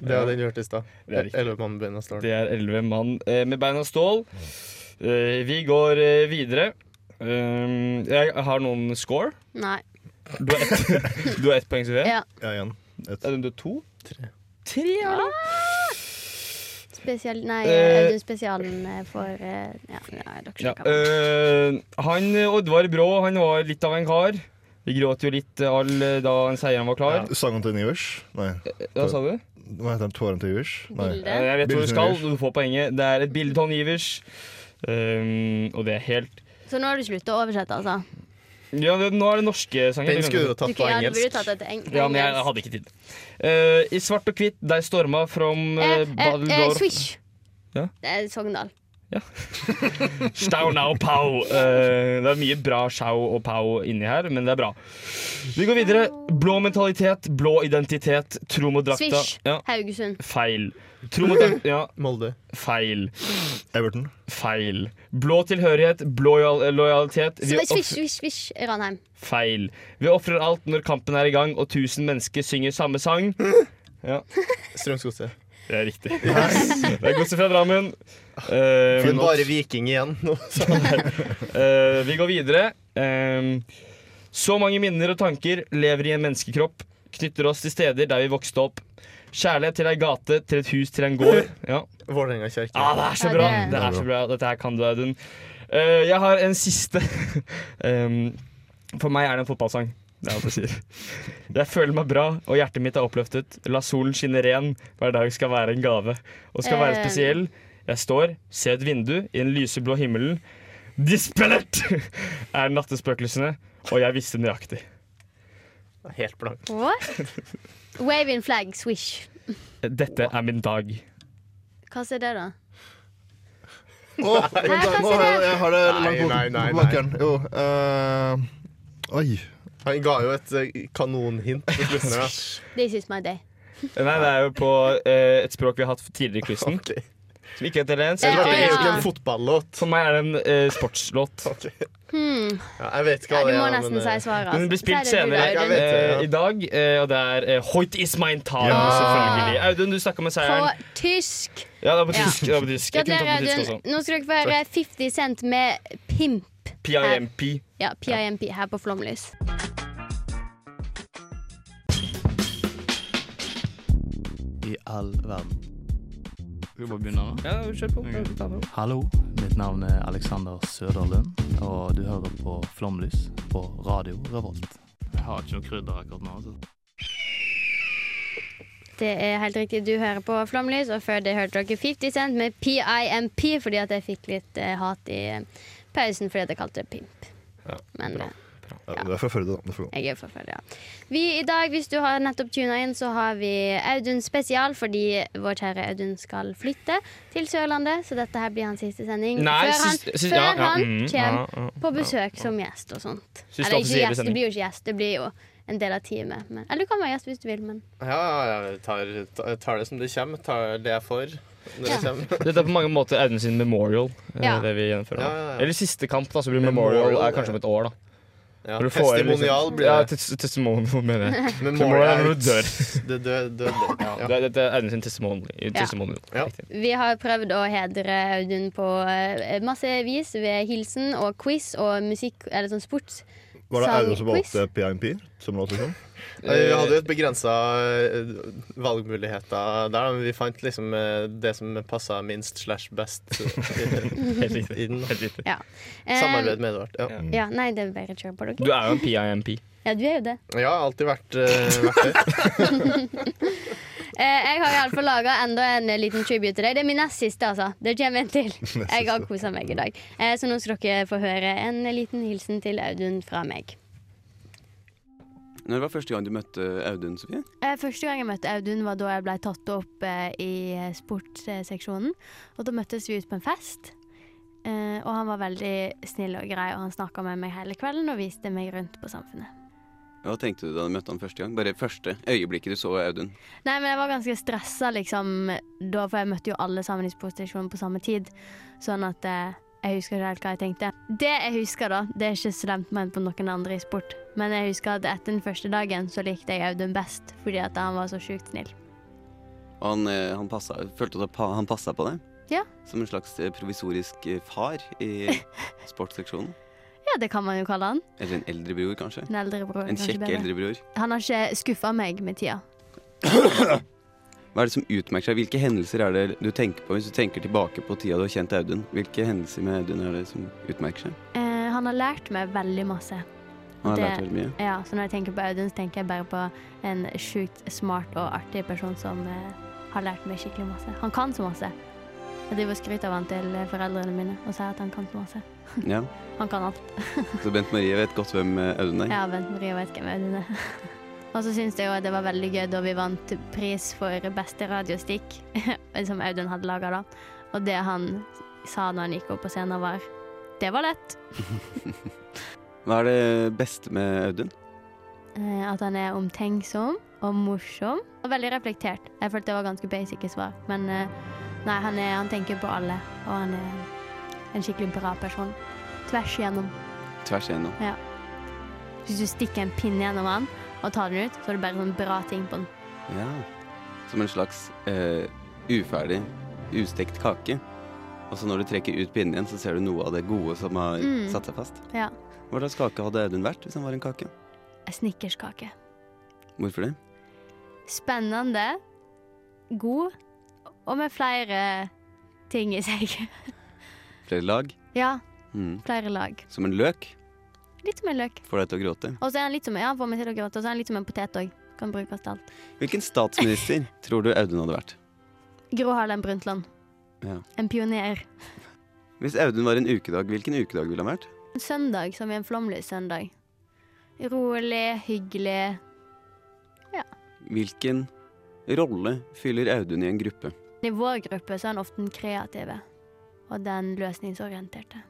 [SPEAKER 4] Det var den du hørte i stad.
[SPEAKER 3] Det er riktig.
[SPEAKER 4] Ellevemannsbeina står
[SPEAKER 3] det er 11 mann eh, med bein av stål. Eh, vi går eh, videre. Eh, jeg har noen score.
[SPEAKER 1] Nei.
[SPEAKER 3] Du har ett, du har ett poeng, Sofie?
[SPEAKER 1] Ja.
[SPEAKER 2] Ja, igjen. Ett.
[SPEAKER 3] Du har to?
[SPEAKER 4] Tre.
[SPEAKER 3] Tre, ja.
[SPEAKER 1] Spesial, nei,
[SPEAKER 3] Eh.
[SPEAKER 1] Audun Spesialen eh, for eh, Ja, nei, dere
[SPEAKER 3] Ja.
[SPEAKER 1] skjønner hva.
[SPEAKER 3] eh, han eh, Oddvar Brå han var litt av en kar. Vi gråt jo litt eh, all eh, da han seieren var klar.
[SPEAKER 2] Sangen til Nivers? Nei.
[SPEAKER 3] Hva sa du?
[SPEAKER 2] Hva heter den? Tåren til Ivers? Nei.
[SPEAKER 1] Bildet.
[SPEAKER 3] Eh, Jeg vet hvor
[SPEAKER 2] Bildet
[SPEAKER 3] du
[SPEAKER 2] til
[SPEAKER 3] skal,
[SPEAKER 2] Ivers.
[SPEAKER 3] du får poenget. Det er et bilde av Nivers. Um, og det er helt
[SPEAKER 1] Så nå har du sluttet å oversette, altså?
[SPEAKER 3] Ja, det, nå er det norske sanger.
[SPEAKER 4] Den skulle du tatt
[SPEAKER 1] Du
[SPEAKER 4] på
[SPEAKER 1] kunne, ja, du burde
[SPEAKER 4] engelsk.
[SPEAKER 1] tatt det til eng
[SPEAKER 3] Ja, men jeg, jeg hadde ikke tid. Eh, I svart og hvitt, deg storma from eh,
[SPEAKER 1] Eh, eh, eh,
[SPEAKER 3] Badeldorf
[SPEAKER 1] Swish.
[SPEAKER 3] Ja.
[SPEAKER 1] Det er Sogndal.
[SPEAKER 3] Staunau Pau. Eh, det er mye bra sjau og pau inni her, men det er bra. Vi går videre. Blå mentalitet, blå identitet, tro mot drakta.
[SPEAKER 1] Swish.
[SPEAKER 3] Ja,
[SPEAKER 1] Haugesund.
[SPEAKER 3] feil. Tro mot drakta Ja,
[SPEAKER 4] Molde.
[SPEAKER 3] feil.
[SPEAKER 2] Everton.
[SPEAKER 3] Feil. Blå tilhørighet, blå lojal- lojalitet. Vi
[SPEAKER 1] Swish, swish,
[SPEAKER 3] off-
[SPEAKER 1] swish, swish. Ranheim.
[SPEAKER 3] feil. Vi ofrer alt når kampen er i gang og 1000 mennesker synger samme sang.
[SPEAKER 4] Strømsgodset.
[SPEAKER 3] Det er riktig. Det er godset fra Drammen. Eh,
[SPEAKER 4] Men bare Viking igjen nå.
[SPEAKER 3] Eh, vi går videre. Eh, så mange minner og tanker lever i en menneskekropp. Knytter oss til steder der vi vokste opp. Kjærlighet til ei gate, til et hus, til en gård. Ja,
[SPEAKER 4] Vålerenga kirke.
[SPEAKER 3] ah, Det er så
[SPEAKER 1] Ja,
[SPEAKER 3] bra!
[SPEAKER 1] det-
[SPEAKER 3] Det er så bra. Dette her kan du, Audun. Eh, jeg har en siste. Eh, for meg er det en fotballsang. Det er alt jeg sier. Jeg føler meg bra, og hjertet mitt er oppløftet. La solen skinne ren. Hver dag skal være en gave. Og skal være
[SPEAKER 1] Eh.
[SPEAKER 3] spesiell. Jeg står, ser et vindu i den lyseblå himmelen. Dispellert er nattespøkelsene, og jeg visste nøyaktig.
[SPEAKER 4] Helt blank.
[SPEAKER 1] What? Waving flag, swish.
[SPEAKER 3] Dette er min dag.
[SPEAKER 1] Hva er det, da?
[SPEAKER 2] Åh,
[SPEAKER 1] Nei,
[SPEAKER 2] vent da,
[SPEAKER 1] hva
[SPEAKER 2] nå
[SPEAKER 1] sier
[SPEAKER 2] har jeg,
[SPEAKER 1] du?
[SPEAKER 2] jeg har det
[SPEAKER 4] Nei,
[SPEAKER 2] langt
[SPEAKER 4] nei, nei,
[SPEAKER 2] bort på
[SPEAKER 4] nei.
[SPEAKER 2] bakkeren. Jo, eh, Oi.
[SPEAKER 4] Han ga jo et eh, kanonhint på slutten her. da.
[SPEAKER 1] This is my day.
[SPEAKER 3] Nei, det er jo på eh, et språk vi har hatt tidligere i quizen.
[SPEAKER 4] Ok.
[SPEAKER 3] Som ikke heter Lens.
[SPEAKER 4] Det
[SPEAKER 1] Ja,
[SPEAKER 4] er jo ikke
[SPEAKER 1] ja.
[SPEAKER 4] en fotballåt.
[SPEAKER 3] For meg er det en eh, sportslåt.
[SPEAKER 1] Hmm.
[SPEAKER 4] Ja, jeg vet ikke
[SPEAKER 1] Ja,
[SPEAKER 4] hva
[SPEAKER 1] du
[SPEAKER 4] det
[SPEAKER 1] må
[SPEAKER 4] er,
[SPEAKER 1] nesten
[SPEAKER 4] men,
[SPEAKER 1] si
[SPEAKER 4] eh,
[SPEAKER 1] svaret.
[SPEAKER 3] Den blir
[SPEAKER 1] altså. Si det
[SPEAKER 3] spilt
[SPEAKER 1] du,
[SPEAKER 3] senere
[SPEAKER 4] Jeg
[SPEAKER 1] Audun.
[SPEAKER 4] vet det, ja.
[SPEAKER 3] eh, i dag, eh, og det er eh, Hoit is mein Tag,
[SPEAKER 2] Ja.
[SPEAKER 3] selvfølgelig. Audun, du snakka med
[SPEAKER 1] På
[SPEAKER 3] seieren.
[SPEAKER 1] tysk.
[SPEAKER 3] Ja, det var på
[SPEAKER 1] Ja.
[SPEAKER 3] tysk. Det var på tysk. Jeg kunne
[SPEAKER 1] Gratulerer,
[SPEAKER 3] tatt på tysk
[SPEAKER 1] Audun.
[SPEAKER 3] også.
[SPEAKER 1] Nå skal dere få høre 50 Cent med Pimp.
[SPEAKER 3] PIMP.
[SPEAKER 1] Ja, PIMP her på Flomlys.
[SPEAKER 5] I all verden.
[SPEAKER 3] Ja, kjør
[SPEAKER 1] Mm.
[SPEAKER 3] på. Ta det.
[SPEAKER 5] Hallo, mitt navn er Alexander Søderlund, og du hører på Flomlys på Radio Revolt. Jeg har ikke noe krydder akkurat nå.
[SPEAKER 1] Det er helt riktig, du hører på Flomlys, og før det hørte dere 50 Cent med PIMP fordi at jeg fikk litt eh, hat i eh, pausen fordi at jeg kalte det pimp. Men eh,
[SPEAKER 2] Ja, det er fra Førde, da. Det er for-
[SPEAKER 1] jeg er forferdelig, ja. Vi i dag, hvis du har nettopp tuna inn, så har vi Audun spesial fordi vår kjære Audun skal flytte til Sørlandet, så dette her blir hans siste sending
[SPEAKER 3] Nei,
[SPEAKER 1] før han,
[SPEAKER 3] siste- siste-
[SPEAKER 1] før
[SPEAKER 3] ja, ja,
[SPEAKER 1] han
[SPEAKER 3] mm,
[SPEAKER 1] kommer
[SPEAKER 3] ja, ja,
[SPEAKER 1] på besøk som gjest og sånn. sånt.
[SPEAKER 3] Siste
[SPEAKER 1] Eller ikke
[SPEAKER 3] offisielle
[SPEAKER 1] gjest,
[SPEAKER 3] sending.
[SPEAKER 1] det blir jo ikke gjest, det blir jo en del av teamet. Men, eller du kan være gjest hvis du vil, men
[SPEAKER 4] Ja, jeg tar, ta- tar det som det kommer. Tar det jeg får når det
[SPEAKER 1] Ja.
[SPEAKER 4] kommer.
[SPEAKER 3] Dette er på mange måter Audun sin memorial. eh,
[SPEAKER 1] Ja.
[SPEAKER 3] Det vi gjennomfører
[SPEAKER 4] Ja, ja, ja.
[SPEAKER 3] Eller siste kamp, da, så blir memorial,
[SPEAKER 4] Memorial,
[SPEAKER 3] er kanskje om et år. da
[SPEAKER 4] Ja.
[SPEAKER 3] Når du får inn, liksom-
[SPEAKER 4] Testimonial blir
[SPEAKER 3] Ja,
[SPEAKER 4] det.
[SPEAKER 3] tes- testimonial, mener jeg.
[SPEAKER 4] Memorial
[SPEAKER 3] Memorial er når
[SPEAKER 4] ut.
[SPEAKER 3] du dør.
[SPEAKER 4] Det dø- døde. Ja.
[SPEAKER 3] Det er- Dette er Audun sin testimonial. testimonial.
[SPEAKER 4] Ja.
[SPEAKER 3] Riktig.
[SPEAKER 1] Vi har prøvd å hedre Audun på eh, masse vis ved hilsen og quiz og musikk, eller sånn sports.
[SPEAKER 2] Var det Audun som
[SPEAKER 1] Sangquiz?
[SPEAKER 2] valgte PIMP som låt? Liksom?
[SPEAKER 4] Eh, Vi hadde jo et begrensa valgmuligheter der, da, men vi fant liksom eh, det som passa minst slash best i
[SPEAKER 3] Helt riktig.
[SPEAKER 4] i den.
[SPEAKER 3] Helt riktig.
[SPEAKER 1] Eh,
[SPEAKER 4] Samarbeid med Edvard. Ja,
[SPEAKER 1] Ja, nei, det er bare å kjøre på dere.
[SPEAKER 3] Du er jo en PIMP.
[SPEAKER 1] Ja, du er jo det.
[SPEAKER 4] jeg har alltid vært, eh, vært det.
[SPEAKER 1] Eh, jeg har iallfall laga enda en liten tribute til deg. Det er min nest siste, altså. Det kommer en til. Jeg har kosa meg i dag. Eh, så nå skal dere få høre en liten hilsen til Audun fra meg.
[SPEAKER 5] Når var første gang du møtte Audun, Sofie?
[SPEAKER 9] Eh, Første gang jeg møtte Audun var da jeg ble tatt opp eh, i eh, sportsseksjonen. Og da møttes vi ut på en fest. Eh, og han var veldig snill og grei, og han snakka med meg hele kvelden og viste meg rundt på samfunnet.
[SPEAKER 5] Hva tenkte du da du møtte han første gang? Bare første øyeblikket du så Audun.
[SPEAKER 9] Nei, men jeg var ganske stressa, liksom, da, for jeg møtte jo alle sammen i sportseksjonen på samme tid. Sånn at eh, jeg husker ikke helt hva jeg tenkte. Det jeg husker, da, det er ikke slemt ment på noen andre i sport, men jeg husker at etter den første dagen så likte jeg Audun best fordi at han var så sjukt snill.
[SPEAKER 5] Og han, eh, han passa, følte du at pa- han passa på deg?
[SPEAKER 9] Ja.
[SPEAKER 5] Som en slags eh, provisorisk eh, far i sportsseksjonen?
[SPEAKER 1] Ja, det kan man jo kalle han.
[SPEAKER 10] Eller en eldre bror, kanskje.
[SPEAKER 1] En eldre bror.
[SPEAKER 10] En
[SPEAKER 1] kanskje
[SPEAKER 10] kjekk
[SPEAKER 1] bedre.
[SPEAKER 10] eldre bror.
[SPEAKER 1] Han har ikke skuffa meg med tida.
[SPEAKER 10] Hva er det som utmerker seg? Hvilke hendelser er det du tenker på hvis du tenker tilbake på tida du har kjent Audun? Hvilke hendelser med Audun er det som utmerker seg?
[SPEAKER 1] Eh, han har lært meg veldig masse.
[SPEAKER 10] Han har
[SPEAKER 1] Det-
[SPEAKER 10] lært veldig mye.
[SPEAKER 1] Ja, så når jeg tenker på Audun, så tenker jeg bare på en sjukt smart og artig person som eh, har lært meg skikkelig masse. Han kan så masse. Jeg driver og skryter av han til eh, foreldrene mine og sier at han kan så masse.
[SPEAKER 10] Ja.
[SPEAKER 1] Han kan alt.
[SPEAKER 10] Så Bent Marie vet godt hvem eh, Audun er?
[SPEAKER 1] Ja, Bent Marie vet hvem Audun er. Og så syns jeg òg det var veldig gøy da vi vant pris for beste radiostikk, som Audun hadde laga, da. Og det han sa når han gikk opp på scenen, var Det var lett.
[SPEAKER 10] Hva er det beste med Audun?
[SPEAKER 1] Eh, At han er omtenksom og morsom og veldig reflektert. Jeg følte det var ganske basic i svar, men eh, nei, han, er, han tenker på alle. Og han er en skikkelig bra person. Tvers igjennom.
[SPEAKER 10] Tvers igjennom.
[SPEAKER 1] Ja. Hvis du stikker en pinne gjennom han og tar den ut, så er det bare sånn bra ting på den.
[SPEAKER 10] Ja. Som en slags eh, uferdig, ustekt kake. Og så når du trekker ut pinnen igjen, så ser du noe av det gode som har
[SPEAKER 1] Mm.
[SPEAKER 10] satt seg fast.
[SPEAKER 1] Ja.
[SPEAKER 10] Hva slags kake hadde Audun vært hvis han var en kake?
[SPEAKER 1] En Snickerskake.
[SPEAKER 10] Hvorfor det?
[SPEAKER 1] Spennende, god og med flere ting i seg.
[SPEAKER 10] Flere lag?
[SPEAKER 1] ja,
[SPEAKER 10] Mm.
[SPEAKER 1] flere lag.
[SPEAKER 10] Som en løk?
[SPEAKER 1] Litt som en løk.
[SPEAKER 10] Får deg til å gråte.
[SPEAKER 1] Og så er han litt som, ja, han får meg til å gråte, og så er han litt som en potet òg. Kan brukes til alt.
[SPEAKER 10] Hvilken statsminister tror du Audun hadde vært?
[SPEAKER 1] Gro Harlem Brundtland.
[SPEAKER 10] Ja.
[SPEAKER 1] En pioner.
[SPEAKER 10] Hvis Audun var en ukedag, hvilken ukedag ville han vært?
[SPEAKER 1] En søndag som i en flomlys søndag. Rolig, hyggelig.
[SPEAKER 10] Hvilken rolle fyller Audun i en gruppe?
[SPEAKER 1] I vår gruppe så er han ofte den kreative og den løsningsorienterte.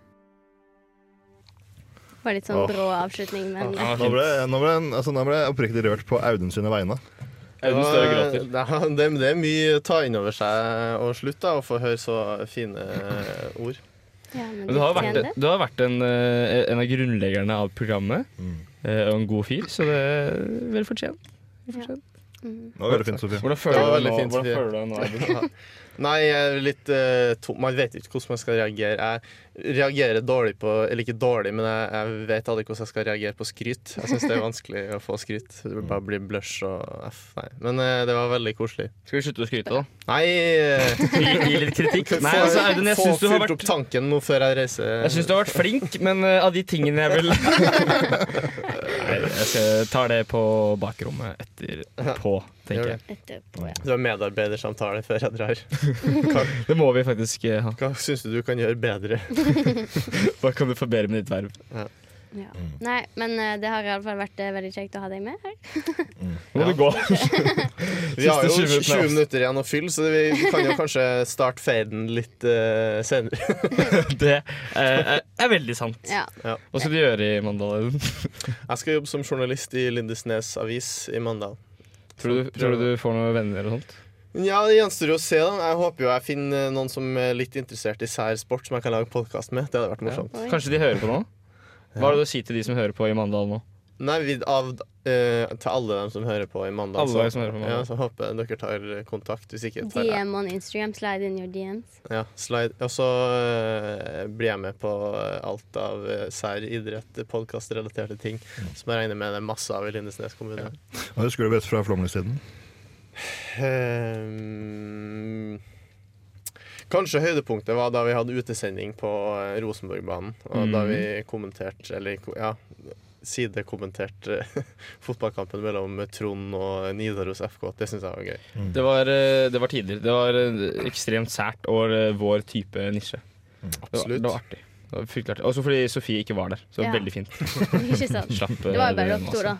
[SPEAKER 1] Det var litt sånn
[SPEAKER 2] Åh.
[SPEAKER 1] brå avslutning, men
[SPEAKER 2] Nå ble, nå, ble, altså, nå ble jeg oppriktig rørt på Audun sine vegne.
[SPEAKER 4] Det var- Det, er- det er mye å ta inn over seg og slutt da, å få høre så fine ord.
[SPEAKER 3] Men du har vært, du har vært en, eh, en av grunnleggerne av programmet, eh, og en god fyr, så det er vel fortjent.
[SPEAKER 2] Det var veldig fint, Sofie.
[SPEAKER 3] Hvordan føler
[SPEAKER 4] Det var
[SPEAKER 3] du
[SPEAKER 4] veldig
[SPEAKER 3] nå-
[SPEAKER 4] fint,
[SPEAKER 3] hvordan
[SPEAKER 4] Sofie.
[SPEAKER 3] føler du deg nå, Audun?
[SPEAKER 4] Nei, jeg er litt eh, tom. Man vet ikke hvordan man skal reagere. Jeg reagerer dårlig på Eller ikke dårlig, men jeg, jeg vet aldri hvordan jeg skal reagere på skryt. Jeg syns det er vanskelig å få skryt. Det bare blir blush og f. Nei. Men eh, det var veldig koselig.
[SPEAKER 3] Skal vi slutte å skryte, da?
[SPEAKER 4] Nei eh,
[SPEAKER 3] Gi- gi litt kritikk? Nei, altså, Audun, jeg
[SPEAKER 4] Få
[SPEAKER 3] synes du har
[SPEAKER 4] fylt
[SPEAKER 3] vært-
[SPEAKER 4] opp tanken nå før jeg reiser.
[SPEAKER 3] Jeg syns du har vært flink, men eh, av de tingene jeg vil Nei, jeg skal- tar det på bakrommet etterpå, tenker jeg.
[SPEAKER 11] Etterpå, ja.
[SPEAKER 4] Du har medarbeidersamtale før jeg drar.
[SPEAKER 3] Det må vi faktisk eh, ha.
[SPEAKER 4] Hva syns du du kan gjøre bedre?
[SPEAKER 3] Hva kan du forbedre med ditt verv? Mm.
[SPEAKER 11] Ja. Nei, men eh, det har iallfall vært eh, veldig kjekt å ha deg med her.
[SPEAKER 3] Nå Mm. må du gå.
[SPEAKER 4] Vi har jo
[SPEAKER 3] Siste
[SPEAKER 4] 20
[SPEAKER 3] 20
[SPEAKER 4] minutter, igjen å fylle, så vi kan jo kanskje starte faden litt eh, senere.
[SPEAKER 3] Det eh, er veldig sant.
[SPEAKER 11] Ja.
[SPEAKER 3] Hva skal du gjøre i Mandal? Audun?
[SPEAKER 4] Jeg skal jobbe som journalist i Lindesnes avis i Mandal.
[SPEAKER 3] Tror du, tror du du får noen venner og sånt?
[SPEAKER 4] Ja, Det gjenstår jo å se. da Jeg håper jo jeg finner noen som er litt interessert i sær sport, som jeg kan lage podkast med. Det hadde vært morsomt.
[SPEAKER 3] Ja. Kanskje de hører på nå? Hva har du å si til de som hører på i Mandal nå?
[SPEAKER 4] Nei, vi, av, eh, Til alle dem som hører på i Mandal.
[SPEAKER 3] Alle dem som hører på i
[SPEAKER 4] ja,
[SPEAKER 3] Mandal.
[SPEAKER 4] så håper jeg dere tar kontakt. Hvis ikke tar jeg
[SPEAKER 11] DM on Instagram, slide in your DMs.
[SPEAKER 4] ja, slide. Og så eh, blir jeg med på eh, alt av eh, sær idrett, podkastrelaterte ting, som jeg regner med det er masse av i Lindesnes kommune.
[SPEAKER 2] Hva husker du best fra Flåmlystiden?
[SPEAKER 4] Ehm, Kanskje høydepunktet var da vi hadde utesending på eh, Rosenborgbanen. Og da
[SPEAKER 3] Mhm.
[SPEAKER 4] vi kommenterte, eller ko- ja, sidekommenterte fotballkampen mellom Trond og Nidaros FK. Det syns jeg var gøy.
[SPEAKER 3] Det var, eh, det var tider. Det var eh, ekstremt sært og eh, vår type nisje. Det var,
[SPEAKER 4] Absolutt.
[SPEAKER 3] det var artig. Det var fryktelig artig. Også fordi Sofie ikke var der. Så det var
[SPEAKER 11] Ja.
[SPEAKER 3] veldig fint.
[SPEAKER 11] Ikke sant?
[SPEAKER 3] Slapp, eh,
[SPEAKER 11] Det var jo bare
[SPEAKER 3] det
[SPEAKER 11] dere to, da.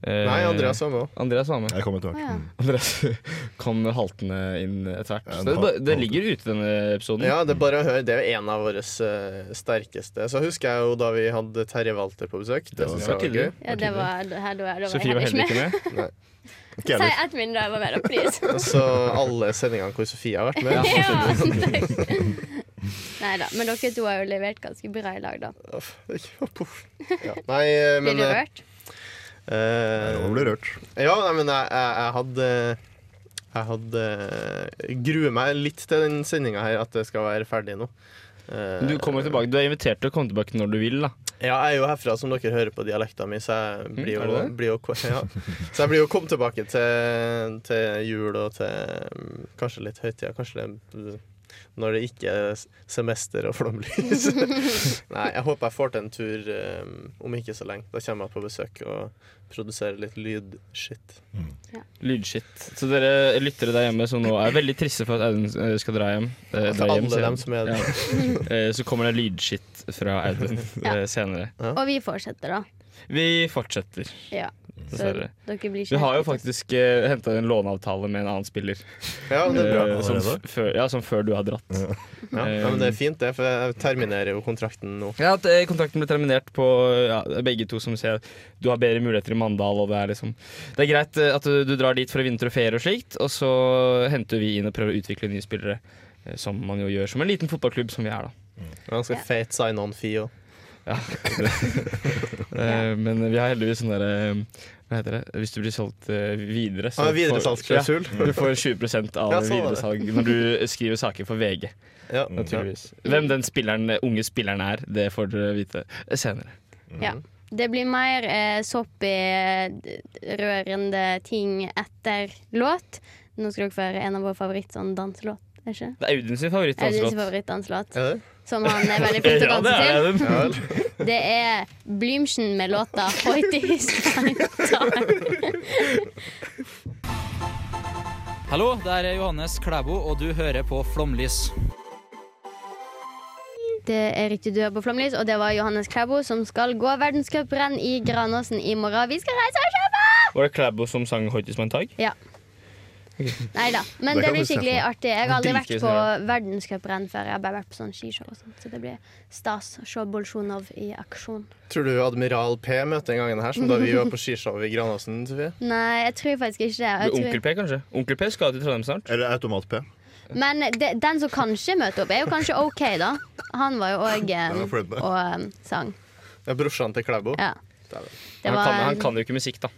[SPEAKER 3] Eh,
[SPEAKER 4] Nei, Andreas var med òg.
[SPEAKER 3] Andreas var med.
[SPEAKER 2] Jeg kommer tilbake.
[SPEAKER 11] Å, ja.
[SPEAKER 3] Andreas kom haltende inn etter hvert.
[SPEAKER 2] Ja,
[SPEAKER 3] Så det,
[SPEAKER 2] han
[SPEAKER 3] det ligger ute, denne episoden.
[SPEAKER 4] Ja, det er bare å høre. Det er jo en av våre eh, sterkeste. Så husker jeg jo da vi hadde Terje Walter på besøk. Det
[SPEAKER 2] var-
[SPEAKER 4] syns
[SPEAKER 2] det
[SPEAKER 4] jeg
[SPEAKER 2] var
[SPEAKER 4] var gøy.
[SPEAKER 11] Ja, det var, det her, det var, det var
[SPEAKER 3] Sofie var heller ikke med.
[SPEAKER 2] Ikke
[SPEAKER 11] Si
[SPEAKER 2] heller.
[SPEAKER 11] ett min da jeg var med, da, please.
[SPEAKER 4] Og så alle sendingene hvor Sofie har vært med.
[SPEAKER 11] ja, takk. Nei da. Men dere to har jo levert ganske bra i lag, da.
[SPEAKER 4] Ja. Nei, eh,
[SPEAKER 11] Blir
[SPEAKER 4] men
[SPEAKER 11] du
[SPEAKER 4] eh,
[SPEAKER 11] rørt?
[SPEAKER 4] eh,
[SPEAKER 2] Nå ble jeg rørt.
[SPEAKER 4] Ja, nei, men jeg, jeg, jeg hadde Jeg hadde gruer meg litt til den sendinga her, at det skal være ferdig nå. Eh,
[SPEAKER 3] Du kommer tilbake, du er invitert til å komme tilbake når du vil. da
[SPEAKER 4] Ja, jeg er jo herfra, som dere hører på dialekta mi, så jeg blir
[SPEAKER 3] Mm, er
[SPEAKER 4] jo,
[SPEAKER 3] det det?
[SPEAKER 4] blir jo, ja. så jeg blir jo kommet tilbake til, til jul og til mm, kanskje litt høytida. Kanskje det når det ikke er s- semester og flomlys. Nei, jeg håper jeg får til en tur um, om ikke så lenge. Da kommer jeg på besøk og produserer litt lydskitt.
[SPEAKER 3] Lydskitt. Så dere lyttere der hjemme som nå er veldig triste for at Audun eh, skal dra hjem,
[SPEAKER 4] Og
[SPEAKER 3] eh,
[SPEAKER 4] til
[SPEAKER 3] dra hjem
[SPEAKER 4] alle dem som er det.
[SPEAKER 3] Ja. Eh, Så kommer det lydskitt fra Audun eh, senere.
[SPEAKER 1] Og vi fortsetter, da.
[SPEAKER 3] Vi fortsetter,
[SPEAKER 1] Ja. Så
[SPEAKER 3] dessverre.
[SPEAKER 1] dere blir
[SPEAKER 3] Vi
[SPEAKER 1] ikke
[SPEAKER 3] har jo faktisk uh, henta en låneavtale med en annen spiller.
[SPEAKER 4] Ja, men det er bra.
[SPEAKER 3] Eh, som, f- før, ja, som før du har dratt.
[SPEAKER 4] Ja, ja, men det er fint, det, for jeg terminerer jo kontrakten nå.
[SPEAKER 3] Ja, at eh, kontrakten ble terminert på ja, begge to som sier du har bedre muligheter i Mandal. Og det, er liksom, det er greit eh, at du, du drar dit for å vinne trofeer og slikt, og så henter vi inn og prøver å utvikle nye spillere. eh, Som man jo gjør som en liten fotballklubb som vi er, da.
[SPEAKER 4] Ganske feit sign-on-fee òg.
[SPEAKER 3] Ja. Eh, Men vi har heldigvis sånn derre hva heter det? Hvis du blir solgt eh, videre
[SPEAKER 4] Ah,
[SPEAKER 3] får-
[SPEAKER 4] videresalgsklausul.
[SPEAKER 3] Ja, du får 20 av
[SPEAKER 4] Ja, sånn var det.
[SPEAKER 3] videresalg når du skriver saker for VG.
[SPEAKER 4] Ja.
[SPEAKER 3] Naturligvis. Hvem den spilleren, unge spilleren er, det får dere vite senere.
[SPEAKER 1] Ja. Det blir mer eh, soppy, d- rørende ting etter låt. Nå skal dere få høre en av våre favoritt sånn danselåt, er ikke?
[SPEAKER 3] Det er Audun sin
[SPEAKER 1] Er det din
[SPEAKER 3] favorittdanselåt.
[SPEAKER 1] favorittdanselåt?
[SPEAKER 4] Er det?
[SPEAKER 1] Som han er veldig flink til å
[SPEAKER 3] Ja, det
[SPEAKER 1] danse
[SPEAKER 3] er
[SPEAKER 1] til.
[SPEAKER 3] Audun. Ja vel.
[SPEAKER 1] Det er Blümchen med låta 'Heute ist mein Tag'.
[SPEAKER 12] Hallo, det er Johannes Klæbo, og du hører på Flomlys.
[SPEAKER 1] Det er riktig du er på Flomlys, og det var Johannes Klæbo som skal gå verdenscuprenn i Granåsen i morgen. Vi skal reise og kjøpe!
[SPEAKER 3] Var det Klæbo som sang 'Hoitis mein Tag'?
[SPEAKER 1] Ja. Nei da. Men
[SPEAKER 3] Det
[SPEAKER 1] det,
[SPEAKER 3] kan
[SPEAKER 1] blir
[SPEAKER 3] vi se
[SPEAKER 1] skikkelig
[SPEAKER 3] for meg.
[SPEAKER 1] artig. Jeg har aldri
[SPEAKER 3] Det
[SPEAKER 1] vært
[SPEAKER 3] liker vi
[SPEAKER 1] på
[SPEAKER 3] så
[SPEAKER 1] verdenscuprenn før. Jeg har bare vært på sånn skishow og sånt. Så det blir stas å se Bolsjunov i aksjon.
[SPEAKER 4] Tror du Admiral P møtte en gang her, som da vi var på skishowet i Granåsen? Sofie?
[SPEAKER 1] Nei, jeg tror faktisk ikke det. Jeg tror...
[SPEAKER 3] P, kanskje? Onkel P skal til Trondheim snart.
[SPEAKER 2] Eller Automat-P.
[SPEAKER 1] Men de, den som kanskje møter opp, er jo kanskje OK, da. Han var jo òg
[SPEAKER 4] Den er jeg fornøyd med.
[SPEAKER 1] og em, sang.
[SPEAKER 4] Det er brorsan til Klæbo.
[SPEAKER 1] Ja. Det
[SPEAKER 3] Han,
[SPEAKER 1] var-
[SPEAKER 3] kan, han kan jo ikke musikk, da.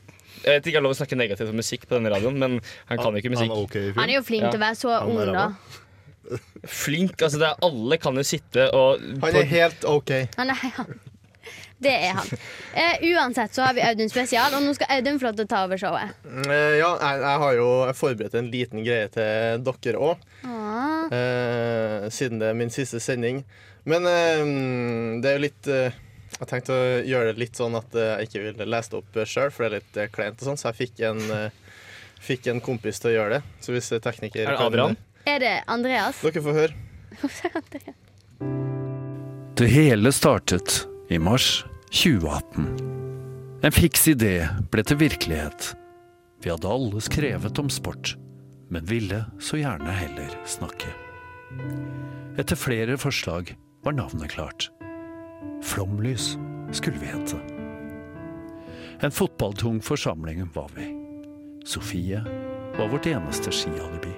[SPEAKER 3] Jeg vet ikke jeg har lov å snakke negativt om musikk på denne radioen, men han kan jo ikke musikk.
[SPEAKER 1] Han er jo flink til å være så ung, da.
[SPEAKER 3] Flink, altså det er Alle kan jo sitte og
[SPEAKER 4] Han er helt OK.
[SPEAKER 1] Han er han. Det er han. Eh, uansett så har vi Audun spesial, og nå skal Audun få lov til å ta over showet.
[SPEAKER 4] Mm, eh, Ja, jeg, jeg har jo forberedt en liten greie til dere òg,
[SPEAKER 1] Ah.
[SPEAKER 4] siden det er min siste sending. Men eh, det er jo litt eh, Jeg tenkte å gjøre det litt sånn at eh, jeg ikke ville lese det opp sjøl, for det er litt eh, kleint og sånn, så jeg fikk en, eh, fikk en kompis til å gjøre det. Så hvis eh, tekniker
[SPEAKER 3] Er det
[SPEAKER 4] kan- eh,
[SPEAKER 3] Adrian?
[SPEAKER 1] Er det Andreas?
[SPEAKER 4] Dere får høre.
[SPEAKER 10] Det hele startet i mars 2018. En fiks idé ble til virkelighet. Vi hadde alle skrevet om sport, men ville så gjerne heller snakke. Etter flere forslag var navnet klart. Flomlys skulle vi hete. En fotballtung forsamling var vi. Sofie var vårt eneste skialibi.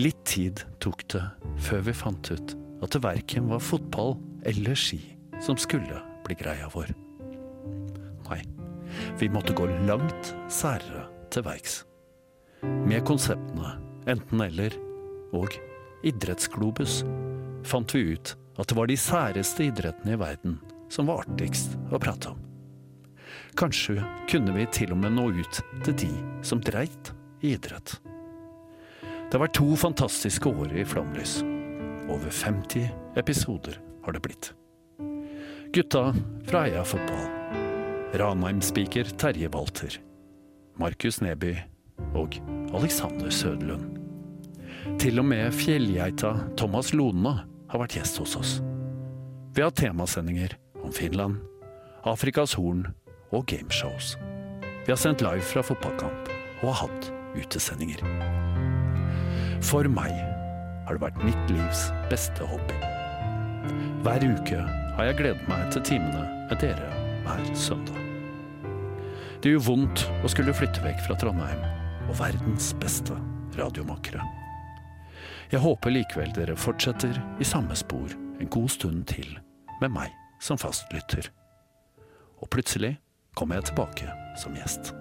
[SPEAKER 10] Litt tid tok det før vi fant ut at det verken var fotball eller ski som skulle bli greia vår. Nei, vi måtte gå langt særere til verks. Med konseptene enten-eller og idrettsglobus fant vi ut at det var de særeste idrettene i verden som var artigst å prate om. Kanskje kunne vi til og med nå ut til de som dreit i idrett. Det har vært to fantastiske år i Flomlys. Over 50 episoder har det blitt. Gutta fra Heia Fotball. Ranheim-spiker Terje Walter. Markus Neby og Alexander Søderlund. Til og med fjellgeita Thomas Lone har vært gjest hos oss. Vi har temasendinger om Finland, Afrikas Horn og gameshows. Vi har sendt live fra fotballkamp og har hatt utesendinger. For meg har det vært mitt livs beste hobby. Hver uke har jeg gledet meg til timene med dere hver søndag. Det gjør vondt å skulle flytte vekk fra Trondheim og verdens beste radiomakere. Jeg håper likevel dere fortsetter i samme spor en god stund til med meg som fastlytter. Og plutselig kommer jeg tilbake som gjest.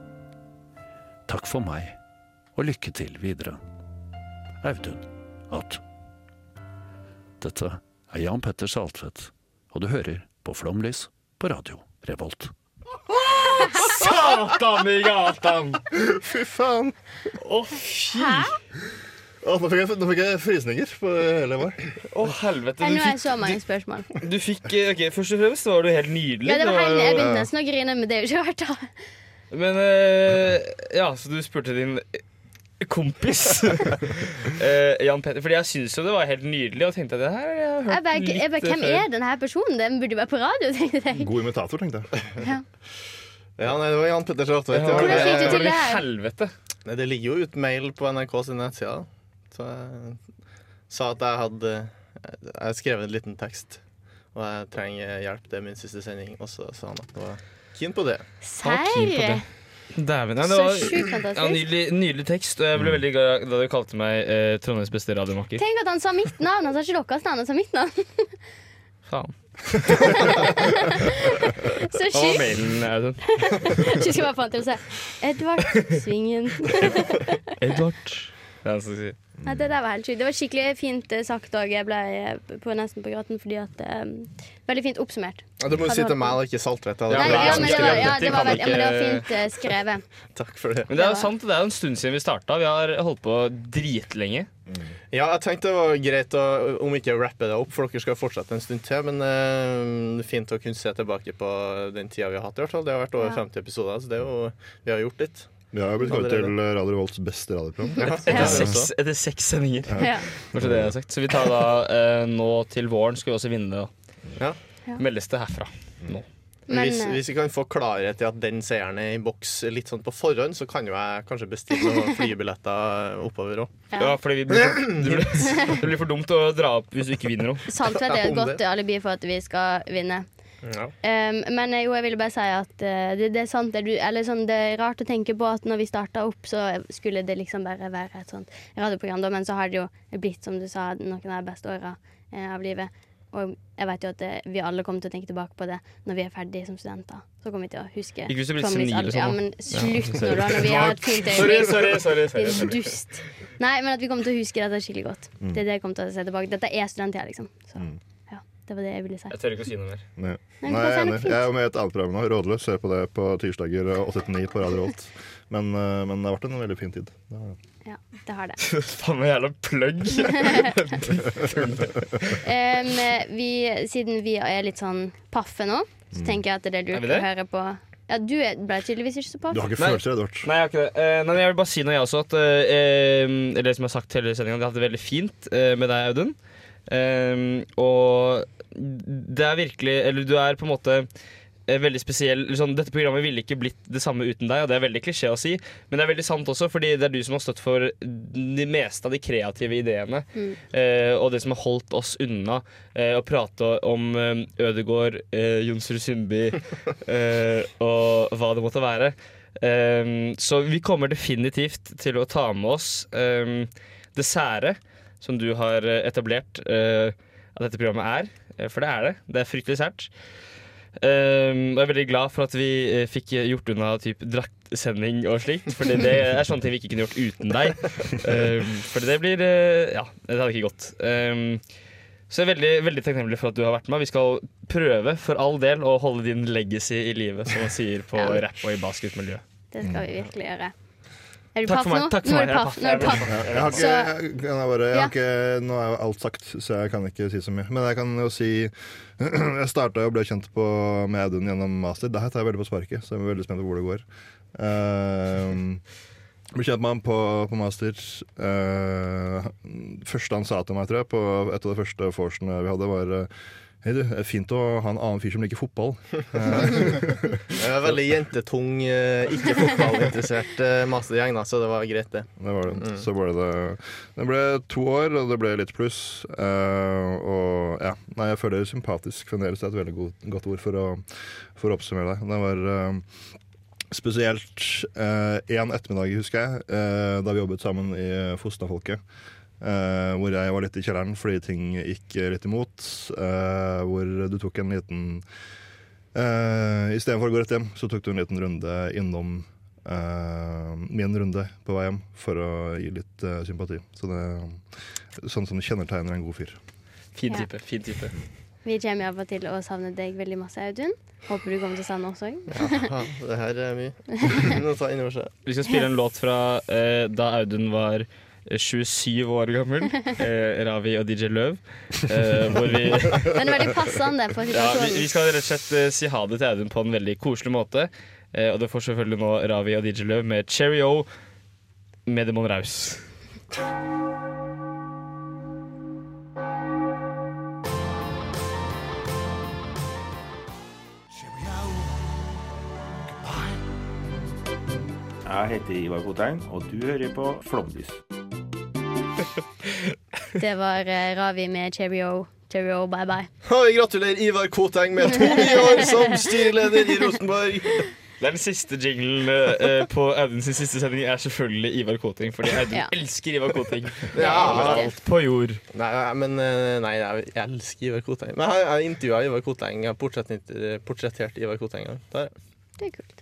[SPEAKER 10] Takk for meg, og lykke til videre. Audun at Dette er Jan Petter Saltvedt, og du hører på Flomlys på radio Revolt.
[SPEAKER 3] Satan i gatan!
[SPEAKER 2] Fy faen.
[SPEAKER 3] Å, fy.
[SPEAKER 2] Å, nå, fikk jeg, nå fikk jeg frysninger på hele meg.
[SPEAKER 3] Å, helvete.
[SPEAKER 1] Nå
[SPEAKER 3] Du
[SPEAKER 1] er det
[SPEAKER 3] fikk,
[SPEAKER 1] så mange spørsmål.
[SPEAKER 3] du fikk eh, ok, Først og fremst var du helt nydelig.
[SPEAKER 1] Ja, det var helt, jeg
[SPEAKER 3] jo-
[SPEAKER 1] begynte nesten å grine, men det er jo ikke verdt det.
[SPEAKER 3] Men eh, Ja, så du spurte din kompis eh, Jan Petter. Fordi jeg syns jo det var helt nydelig, og tenkte at det her har jeg hørt
[SPEAKER 1] Jeg bare, jeg bare,
[SPEAKER 3] litt eh,
[SPEAKER 1] hvem
[SPEAKER 3] før.
[SPEAKER 1] er denne personen? Den burde være på radio, tenkte jeg.
[SPEAKER 2] God imitator, tenkte jeg.
[SPEAKER 4] Ja, nei, det var Jan Petter Svartveit.
[SPEAKER 1] Hvordan fikk du til det her?
[SPEAKER 3] Helvete.
[SPEAKER 4] Nei, det ligger jo ut mail på NRK sin nettside. da. Så jeg sa at jeg hadde Jeg har skrevet en liten tekst, og jeg trenger hjelp. Det er min siste sending. Og så sa han at han var keen på det.
[SPEAKER 1] Han var keen på det. Serr?
[SPEAKER 3] Dæven. Ja, det
[SPEAKER 1] Så
[SPEAKER 3] var
[SPEAKER 1] sjukt fantastisk.
[SPEAKER 3] ja, nydelig, nydelig tekst, og jeg ble veldig glad da du kalte meg eh, Trondheims beste radiomaker.
[SPEAKER 1] Tenk at han sa mitt navn! Han sa ikke deres navn, han sa mitt navn.
[SPEAKER 3] Faen.
[SPEAKER 1] Så
[SPEAKER 3] Og
[SPEAKER 1] sjukt.
[SPEAKER 3] mailen, Audun.
[SPEAKER 1] Ikke skal bare få han til å si Edvard Svingen.
[SPEAKER 3] Edvard. Det er han som sier.
[SPEAKER 1] Nei, det der var helt sjukt. Det var skikkelig fint eh, sagt òg. Jeg ble eh, på, nesten på gråten fordi at eh, Veldig fint oppsummert.
[SPEAKER 4] Ja, det må jo
[SPEAKER 1] Hadde
[SPEAKER 4] si til
[SPEAKER 1] holdt
[SPEAKER 4] meg, da, ikke Saltvedt. da.
[SPEAKER 1] på.
[SPEAKER 4] Det
[SPEAKER 1] Nei,
[SPEAKER 4] er
[SPEAKER 1] ja,
[SPEAKER 4] jeg som
[SPEAKER 1] men det var,
[SPEAKER 4] skrev
[SPEAKER 1] ja,
[SPEAKER 4] dette.
[SPEAKER 1] det var,
[SPEAKER 4] Kan
[SPEAKER 1] veld- ja, men det var
[SPEAKER 4] ikke-
[SPEAKER 1] fint eh, skrevet.
[SPEAKER 4] Takk for det.
[SPEAKER 3] Men det er jo sant, det er jo en stund siden vi starta. Vi har holdt på dritlenge.
[SPEAKER 4] Ja, jeg tenkte det var greit å, om ikke rappe det opp, for dere skal fortsette en stund til. Men eh, fint å kunne se tilbake på den tida vi har hatt, i hvert fall. Det har vært over
[SPEAKER 1] Ja.
[SPEAKER 4] 50 episoder, så det er jo, vi har gjort litt.
[SPEAKER 2] Vi har jo blitt kalt til Radio Revolts beste radioprogram.
[SPEAKER 3] Et- Etter seks, etter seks sendinger.
[SPEAKER 1] Ja.
[SPEAKER 3] Kanskje det jeg har sagt. Så vi tar da eh, nå til våren skal vi også vinne det.
[SPEAKER 4] da.
[SPEAKER 1] Ja.
[SPEAKER 3] Meldes det herfra nå.
[SPEAKER 1] Men,
[SPEAKER 4] hvis,
[SPEAKER 1] eh,
[SPEAKER 4] hvis vi kan få klarhet i at den seieren er i boks litt sånn på forhånd, så kan jo jeg kanskje bestille noen flybilletter oppover òg.
[SPEAKER 1] Ja.
[SPEAKER 3] Ja, fordi vi blir for, det, blir, det blir for dumt å dra opp hvis du ikke vinner noe.
[SPEAKER 1] Saltvedt er et
[SPEAKER 3] Om
[SPEAKER 1] godt
[SPEAKER 3] det.
[SPEAKER 1] alibi for at vi skal vinne.
[SPEAKER 4] Ja.
[SPEAKER 1] Ehm, men eh, jo, jeg ville bare si at eh, det, det er sant det du Eller sånn, det er rart å tenke på at når vi starta opp, så skulle det liksom bare være et sånt radioprogram, da. Men så har det jo blitt, som du sa, noen av de beste åra eh, av livet. Og jeg vet jo at eh, vi alle kommer til å tenke tilbake på det når vi er ferdige som studenter. Så kommer vi til å huske
[SPEAKER 3] Ikke hvis du blir
[SPEAKER 1] Flåmlys
[SPEAKER 3] senil
[SPEAKER 1] aldri.
[SPEAKER 3] og sånn,
[SPEAKER 1] Ja,
[SPEAKER 3] da.
[SPEAKER 1] men slutt
[SPEAKER 3] Ja.
[SPEAKER 1] nå, da. Når vi har et fint
[SPEAKER 3] Sorry, sorry, sorry, sorry,
[SPEAKER 1] Det er så
[SPEAKER 3] sorry.
[SPEAKER 1] dust. Nei, men at vi kommer til å huske dette skikkelig godt.
[SPEAKER 3] Mm.
[SPEAKER 1] Det er det jeg kommer til å se tilbake. Dette er studenttida, liksom. Så ja, det var det jeg ville si.
[SPEAKER 3] Jeg tør ikke å si noe mer.
[SPEAKER 2] Nei,
[SPEAKER 1] Nei,
[SPEAKER 2] Nei, jeg er
[SPEAKER 1] men det er
[SPEAKER 2] enig.
[SPEAKER 1] nok
[SPEAKER 2] Jeg er jo med i et annet program nå, Rådløs. Ser på det på tirsdager eh, 8-9 på Radio Revolt. Men, eh, men det har vært en veldig fin tid. Det har det.
[SPEAKER 1] Ja, det har det.
[SPEAKER 3] Faen meg jævla plugg.
[SPEAKER 1] Em, vi, siden vi er litt sånn paffe nå, så
[SPEAKER 3] Mm. tenker
[SPEAKER 1] tenker jeg at det er
[SPEAKER 3] Er vi
[SPEAKER 1] lurt
[SPEAKER 3] det?
[SPEAKER 1] å høre på. Ja, du er- ble tydeligvis ikke så paff.
[SPEAKER 3] Nei.
[SPEAKER 2] Edvard?
[SPEAKER 3] Nei, jeg har ikke det. Eh, nei, men jeg vil bare si noe, jeg også. At, eh, eh, eller som jeg har sagt hele sendinga, det har hatt det veldig fint eh, med deg, Audun. Eh, og det er virkelig Eller du er på en måte eh, veldig spesiell eller sånn, Dette programmet ville ikke blitt det samme uten deg, og det er veldig klisjé å si, men det er veldig sant også, fordi det er du som har stått for de meste av de kreative ideene.
[SPEAKER 13] Mm.
[SPEAKER 3] Eh, og det som har holdt oss unna eh, å prate om eh, Ødegård, eh, Jonsrud Sundby eh, og hva det måtte være. Eh, så vi kommer definitivt til å ta med oss eh, det sære som du har eh, etablert eh, at dette programmet er. Eh, For det er det. Det er fryktelig sært. Eh, og jeg er veldig glad for at vi eh, fikk gjort unna typ draktsending og slikt. Fordi det er sånne ting vi ikke kunne gjort uten deg. Eh, fordi det blir eh, Ja, det hadde ikke gått. Eh, så jeg er veldig, veldig takknemlig for at du har vært med. Vi skal prøve for all del å holde din legacy i live, som man sier på
[SPEAKER 1] Ja.
[SPEAKER 3] rapp og i basketmiljøet.
[SPEAKER 1] Det skal vi virkelig gjøre. Er du
[SPEAKER 3] Takk
[SPEAKER 1] paff
[SPEAKER 3] for meg,
[SPEAKER 1] nå?
[SPEAKER 3] takk for
[SPEAKER 1] Nå er
[SPEAKER 3] meg,
[SPEAKER 1] du
[SPEAKER 3] jeg
[SPEAKER 1] paff. Nå er
[SPEAKER 3] er paff,
[SPEAKER 1] du
[SPEAKER 3] jeg er
[SPEAKER 1] paff.
[SPEAKER 3] paff.
[SPEAKER 2] Jeg har ikke,
[SPEAKER 1] Så-
[SPEAKER 2] jeg, kan jeg bare, jeg
[SPEAKER 1] Ja.
[SPEAKER 2] har ikke, nå er jo alt sagt, så jeg kan ikke si så mye. Men jeg kan jo si Jeg starta og ble kjent på, med Audun gjennom master. Det her tar jeg veldig på sparket, så jeg er veldig spent på hvor det går. Ehm, ble kjent med han på, på master. Uh, første han sa til meg, tror jeg, på et av de første vorsene vi hadde, var eh, Hei, du, det er fint å ha en annen fyr som liker fotball. Eh,
[SPEAKER 4] Jeg er veldig jentetung, eh, ikke fotballinteressert eh, mastergjeng, da, så det var greit, det.
[SPEAKER 2] Det var det.
[SPEAKER 4] Mm.
[SPEAKER 2] Så ble det Det ble to år, og det ble litt pluss. Eh, og ja. Nei, jeg føler sympatisk fremdeles. Det er et veldig godt, godt ord for å, for å oppsummere det. Det var eh, spesielt én ettermiddag, husker jeg, eh, da vi jobbet sammen i Fosnafolket. eh, hvor jeg var litt i kjelleren fordi ting gikk litt imot. eh, hvor du tok en liten Uh, Istedenfor å gå rett hjem, så tok du en liten runde innom eh, min runde på vei hjem for å gi litt eh, sympati. Så det, sånn som kjennetegner en god fyr.
[SPEAKER 3] Fin type. fin type
[SPEAKER 1] Vi kommer iallfall til å savne deg veldig masse, Audun. Håper du kommer til å savne oss òg.
[SPEAKER 4] Ja, det her er mye å ta inn over seg.
[SPEAKER 3] Vi skal spille en låt fra eh, da Audun var eh, 27 år gammel. Eh, Ravi og DJ Løv. Eh, hvor vi
[SPEAKER 1] Den er veldig passende på
[SPEAKER 3] ja, vi,
[SPEAKER 1] situasjonen.
[SPEAKER 3] vi skal rett og slett eh, si ha det til Audun på en veldig koselig måte. Eh, og du får selvfølgelig nå Ravi og DJ Løv med Cheerio med Demon Raus.
[SPEAKER 13] Jeg heter Ivar Kotein, og du hører på Flomlys.
[SPEAKER 1] Det var eh, Ravi med cheerio. Cheerio, bye bye.
[SPEAKER 4] Og vi gratulerer Ivar Koteng med to nye år som styreleder i Rosenborg.
[SPEAKER 3] Det er Den siste jinglen eh, på Audun sin siste sending er selvfølgelig Ivar Koting. Fordi Audun
[SPEAKER 4] Ja.
[SPEAKER 3] elsker Ivar Koting.
[SPEAKER 4] Ja.
[SPEAKER 3] Alt på jord.
[SPEAKER 4] Nei, men eh, nei, jeg jeg elsker Ivar Koteng. Men jeg, jeg intervjua Ivar Koteng. Jeg portretter- portretterte Ivar Koteng. en gang. Der.
[SPEAKER 1] Det er kult.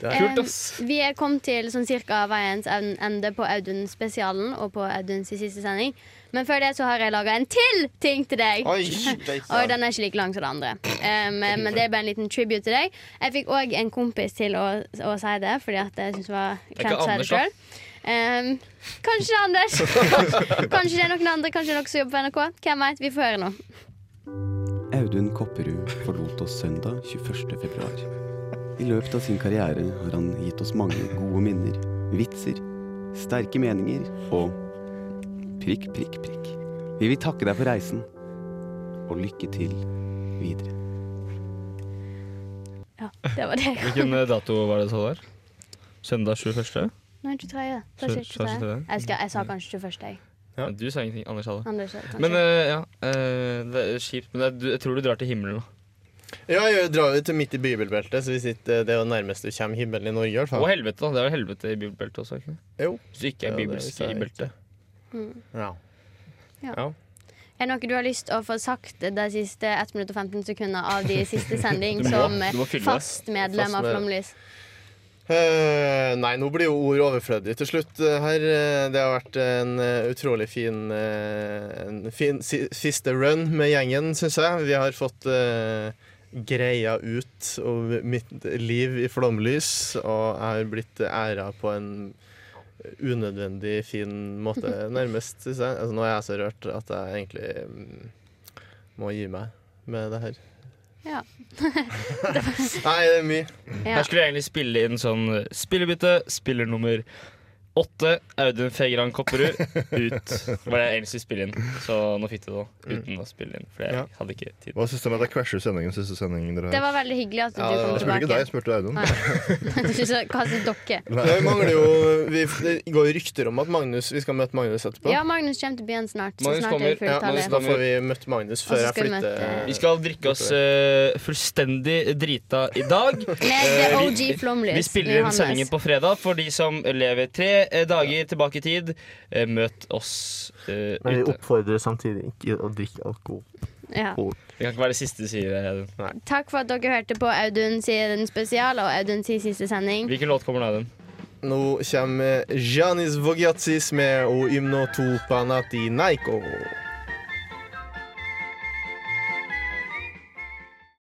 [SPEAKER 4] Det er
[SPEAKER 1] Em, vi er kommet til sånn cirka veiens en- ende på Audun-spesialen og på Auduns siste sending. Men før det så har jeg laga en til ting til deg.
[SPEAKER 4] Oi, det er ikke sant.
[SPEAKER 1] og den er ikke like lang som det andre. Em, men det er bare en liten tribute til deg. Jeg fikk òg en kompis til å, å si det, fordi at jeg syns det var
[SPEAKER 14] Det er ikke
[SPEAKER 1] kleint å si det
[SPEAKER 14] Anders, da?
[SPEAKER 1] sjøl. Em, kanskje det er Anders. kanskje det er noen andre. Kanskje det er noen som jobber på NRK. Hvem veit? Vi får høre nå.
[SPEAKER 15] Audun Kopperud forlot oss søndag 21. februar. I løpet av sin karriere har han gitt oss mange gode minner, vitser, sterke meninger og prikk, prikk, prikk. Vi vil takke deg for reisen, og lykke til videre.
[SPEAKER 1] Ja, det var det.
[SPEAKER 3] Hvilken eh, dato var det du sa der? Søndag 21.?
[SPEAKER 1] Nei, 23. Det var ikke
[SPEAKER 3] Sa- sa ikke
[SPEAKER 1] 23.
[SPEAKER 3] det?
[SPEAKER 1] Jeg, skal, jeg sa kanskje 21. jeg.
[SPEAKER 3] Ja. Du sa ingenting. Anders sa det.
[SPEAKER 1] Anders sa det, kanskje.
[SPEAKER 3] men eh, ja, eh, det er kjipt. Men det er, du, jeg tror du drar til himmelen. da.
[SPEAKER 4] Ja, jeg drar jo til midt i bibelbeltet, så vi sitter, eh, det er jo nærmest du kommer himmelen i Norge. i hvert fall.
[SPEAKER 3] Og helvete, da. Det er jo helvete i bibelbeltet også. ikke det?
[SPEAKER 4] Jo.
[SPEAKER 3] Hvis du ikke
[SPEAKER 4] Ja,
[SPEAKER 3] er
[SPEAKER 4] det
[SPEAKER 3] bibelsk
[SPEAKER 4] sa jeg
[SPEAKER 3] i beltet.
[SPEAKER 1] Mm.
[SPEAKER 4] Ja.
[SPEAKER 1] Ja.
[SPEAKER 4] Ja.
[SPEAKER 1] Er det noe du har lyst å få sagt de siste 1 minutt og 15 sekunder av de siste sending
[SPEAKER 4] Du må-
[SPEAKER 1] som eh,
[SPEAKER 4] du må fylle det.
[SPEAKER 1] fast medlem
[SPEAKER 4] Fast
[SPEAKER 1] av
[SPEAKER 4] med-
[SPEAKER 1] Flomlys?
[SPEAKER 4] Eh, nei, nå blir jo ord overflødige til slutt eh, her. Eh, Det har vært en eh, utrolig fin, eh, en fin si siste run med gjengen, syns jeg. Vi har fått eh, greia ut om mitt liv i flomlys, og jeg har blitt æra på en unødvendig fin måte, nærmest, syns jeg. Altså, nå er jeg så rørt at jeg egentlig mm, må gi meg med det her.
[SPEAKER 1] Ja.
[SPEAKER 4] Nei, det er mye.
[SPEAKER 1] Ja.
[SPEAKER 3] Her skulle jeg egentlig spille inn sånn spillebytte. Spiller nummer åtte, Audun Fegran Kopperud, ut. Det var det jeg egentlig skulle spille inn, så nå fikk du det
[SPEAKER 4] Mm.
[SPEAKER 3] da, uten å spille inn. For jeg
[SPEAKER 2] Ja.
[SPEAKER 3] hadde ikke tid.
[SPEAKER 2] Hva syns du om at jeg crasher sendingen? siste sendingen dere har?
[SPEAKER 1] Det var veldig hyggelig at du
[SPEAKER 2] Ja, det
[SPEAKER 1] kom
[SPEAKER 2] var- Jeg spurte ikke
[SPEAKER 1] tilbake.
[SPEAKER 2] deg, jeg spurte Audun.
[SPEAKER 1] Nei. Du sa, Hva sier dere?
[SPEAKER 4] Det mangler jo vi, Det går jo rykter om at Magnus vi skal møte Magnus etterpå.
[SPEAKER 1] Ja, Magnus kommer til byen snart. Så
[SPEAKER 4] Magnus
[SPEAKER 1] snart er jeg
[SPEAKER 4] kommer, ja, Magnus,
[SPEAKER 1] fulltallet.
[SPEAKER 4] da får vi møtt Magnus
[SPEAKER 1] Og
[SPEAKER 4] før
[SPEAKER 1] så
[SPEAKER 4] jeg
[SPEAKER 1] skal vi
[SPEAKER 4] flytter.
[SPEAKER 1] møte-
[SPEAKER 3] Vi skal drikke oss eh, fullstendig drita i dag.
[SPEAKER 1] the
[SPEAKER 3] Eh,
[SPEAKER 1] OG Flomlys,
[SPEAKER 3] Vi spiller inn
[SPEAKER 1] Johannes.
[SPEAKER 3] sendingen på fredag for de som lever tre eh, dager tilbake i tid. eh, møt oss eh,
[SPEAKER 4] Men vi
[SPEAKER 3] ute.
[SPEAKER 4] oppfordrer samtidig ikke å drikke alkohol.
[SPEAKER 1] Ja.
[SPEAKER 3] Det kan ikke være det siste du sier. Audun.
[SPEAKER 1] Takk for at dere hørte på Audun sin spesial og Audun sin siste sending.
[SPEAKER 3] Hvilken låt kommer nå, Audun?
[SPEAKER 4] Nå kommer Janis Vogiatsis med O Ymno Topanati Naiko.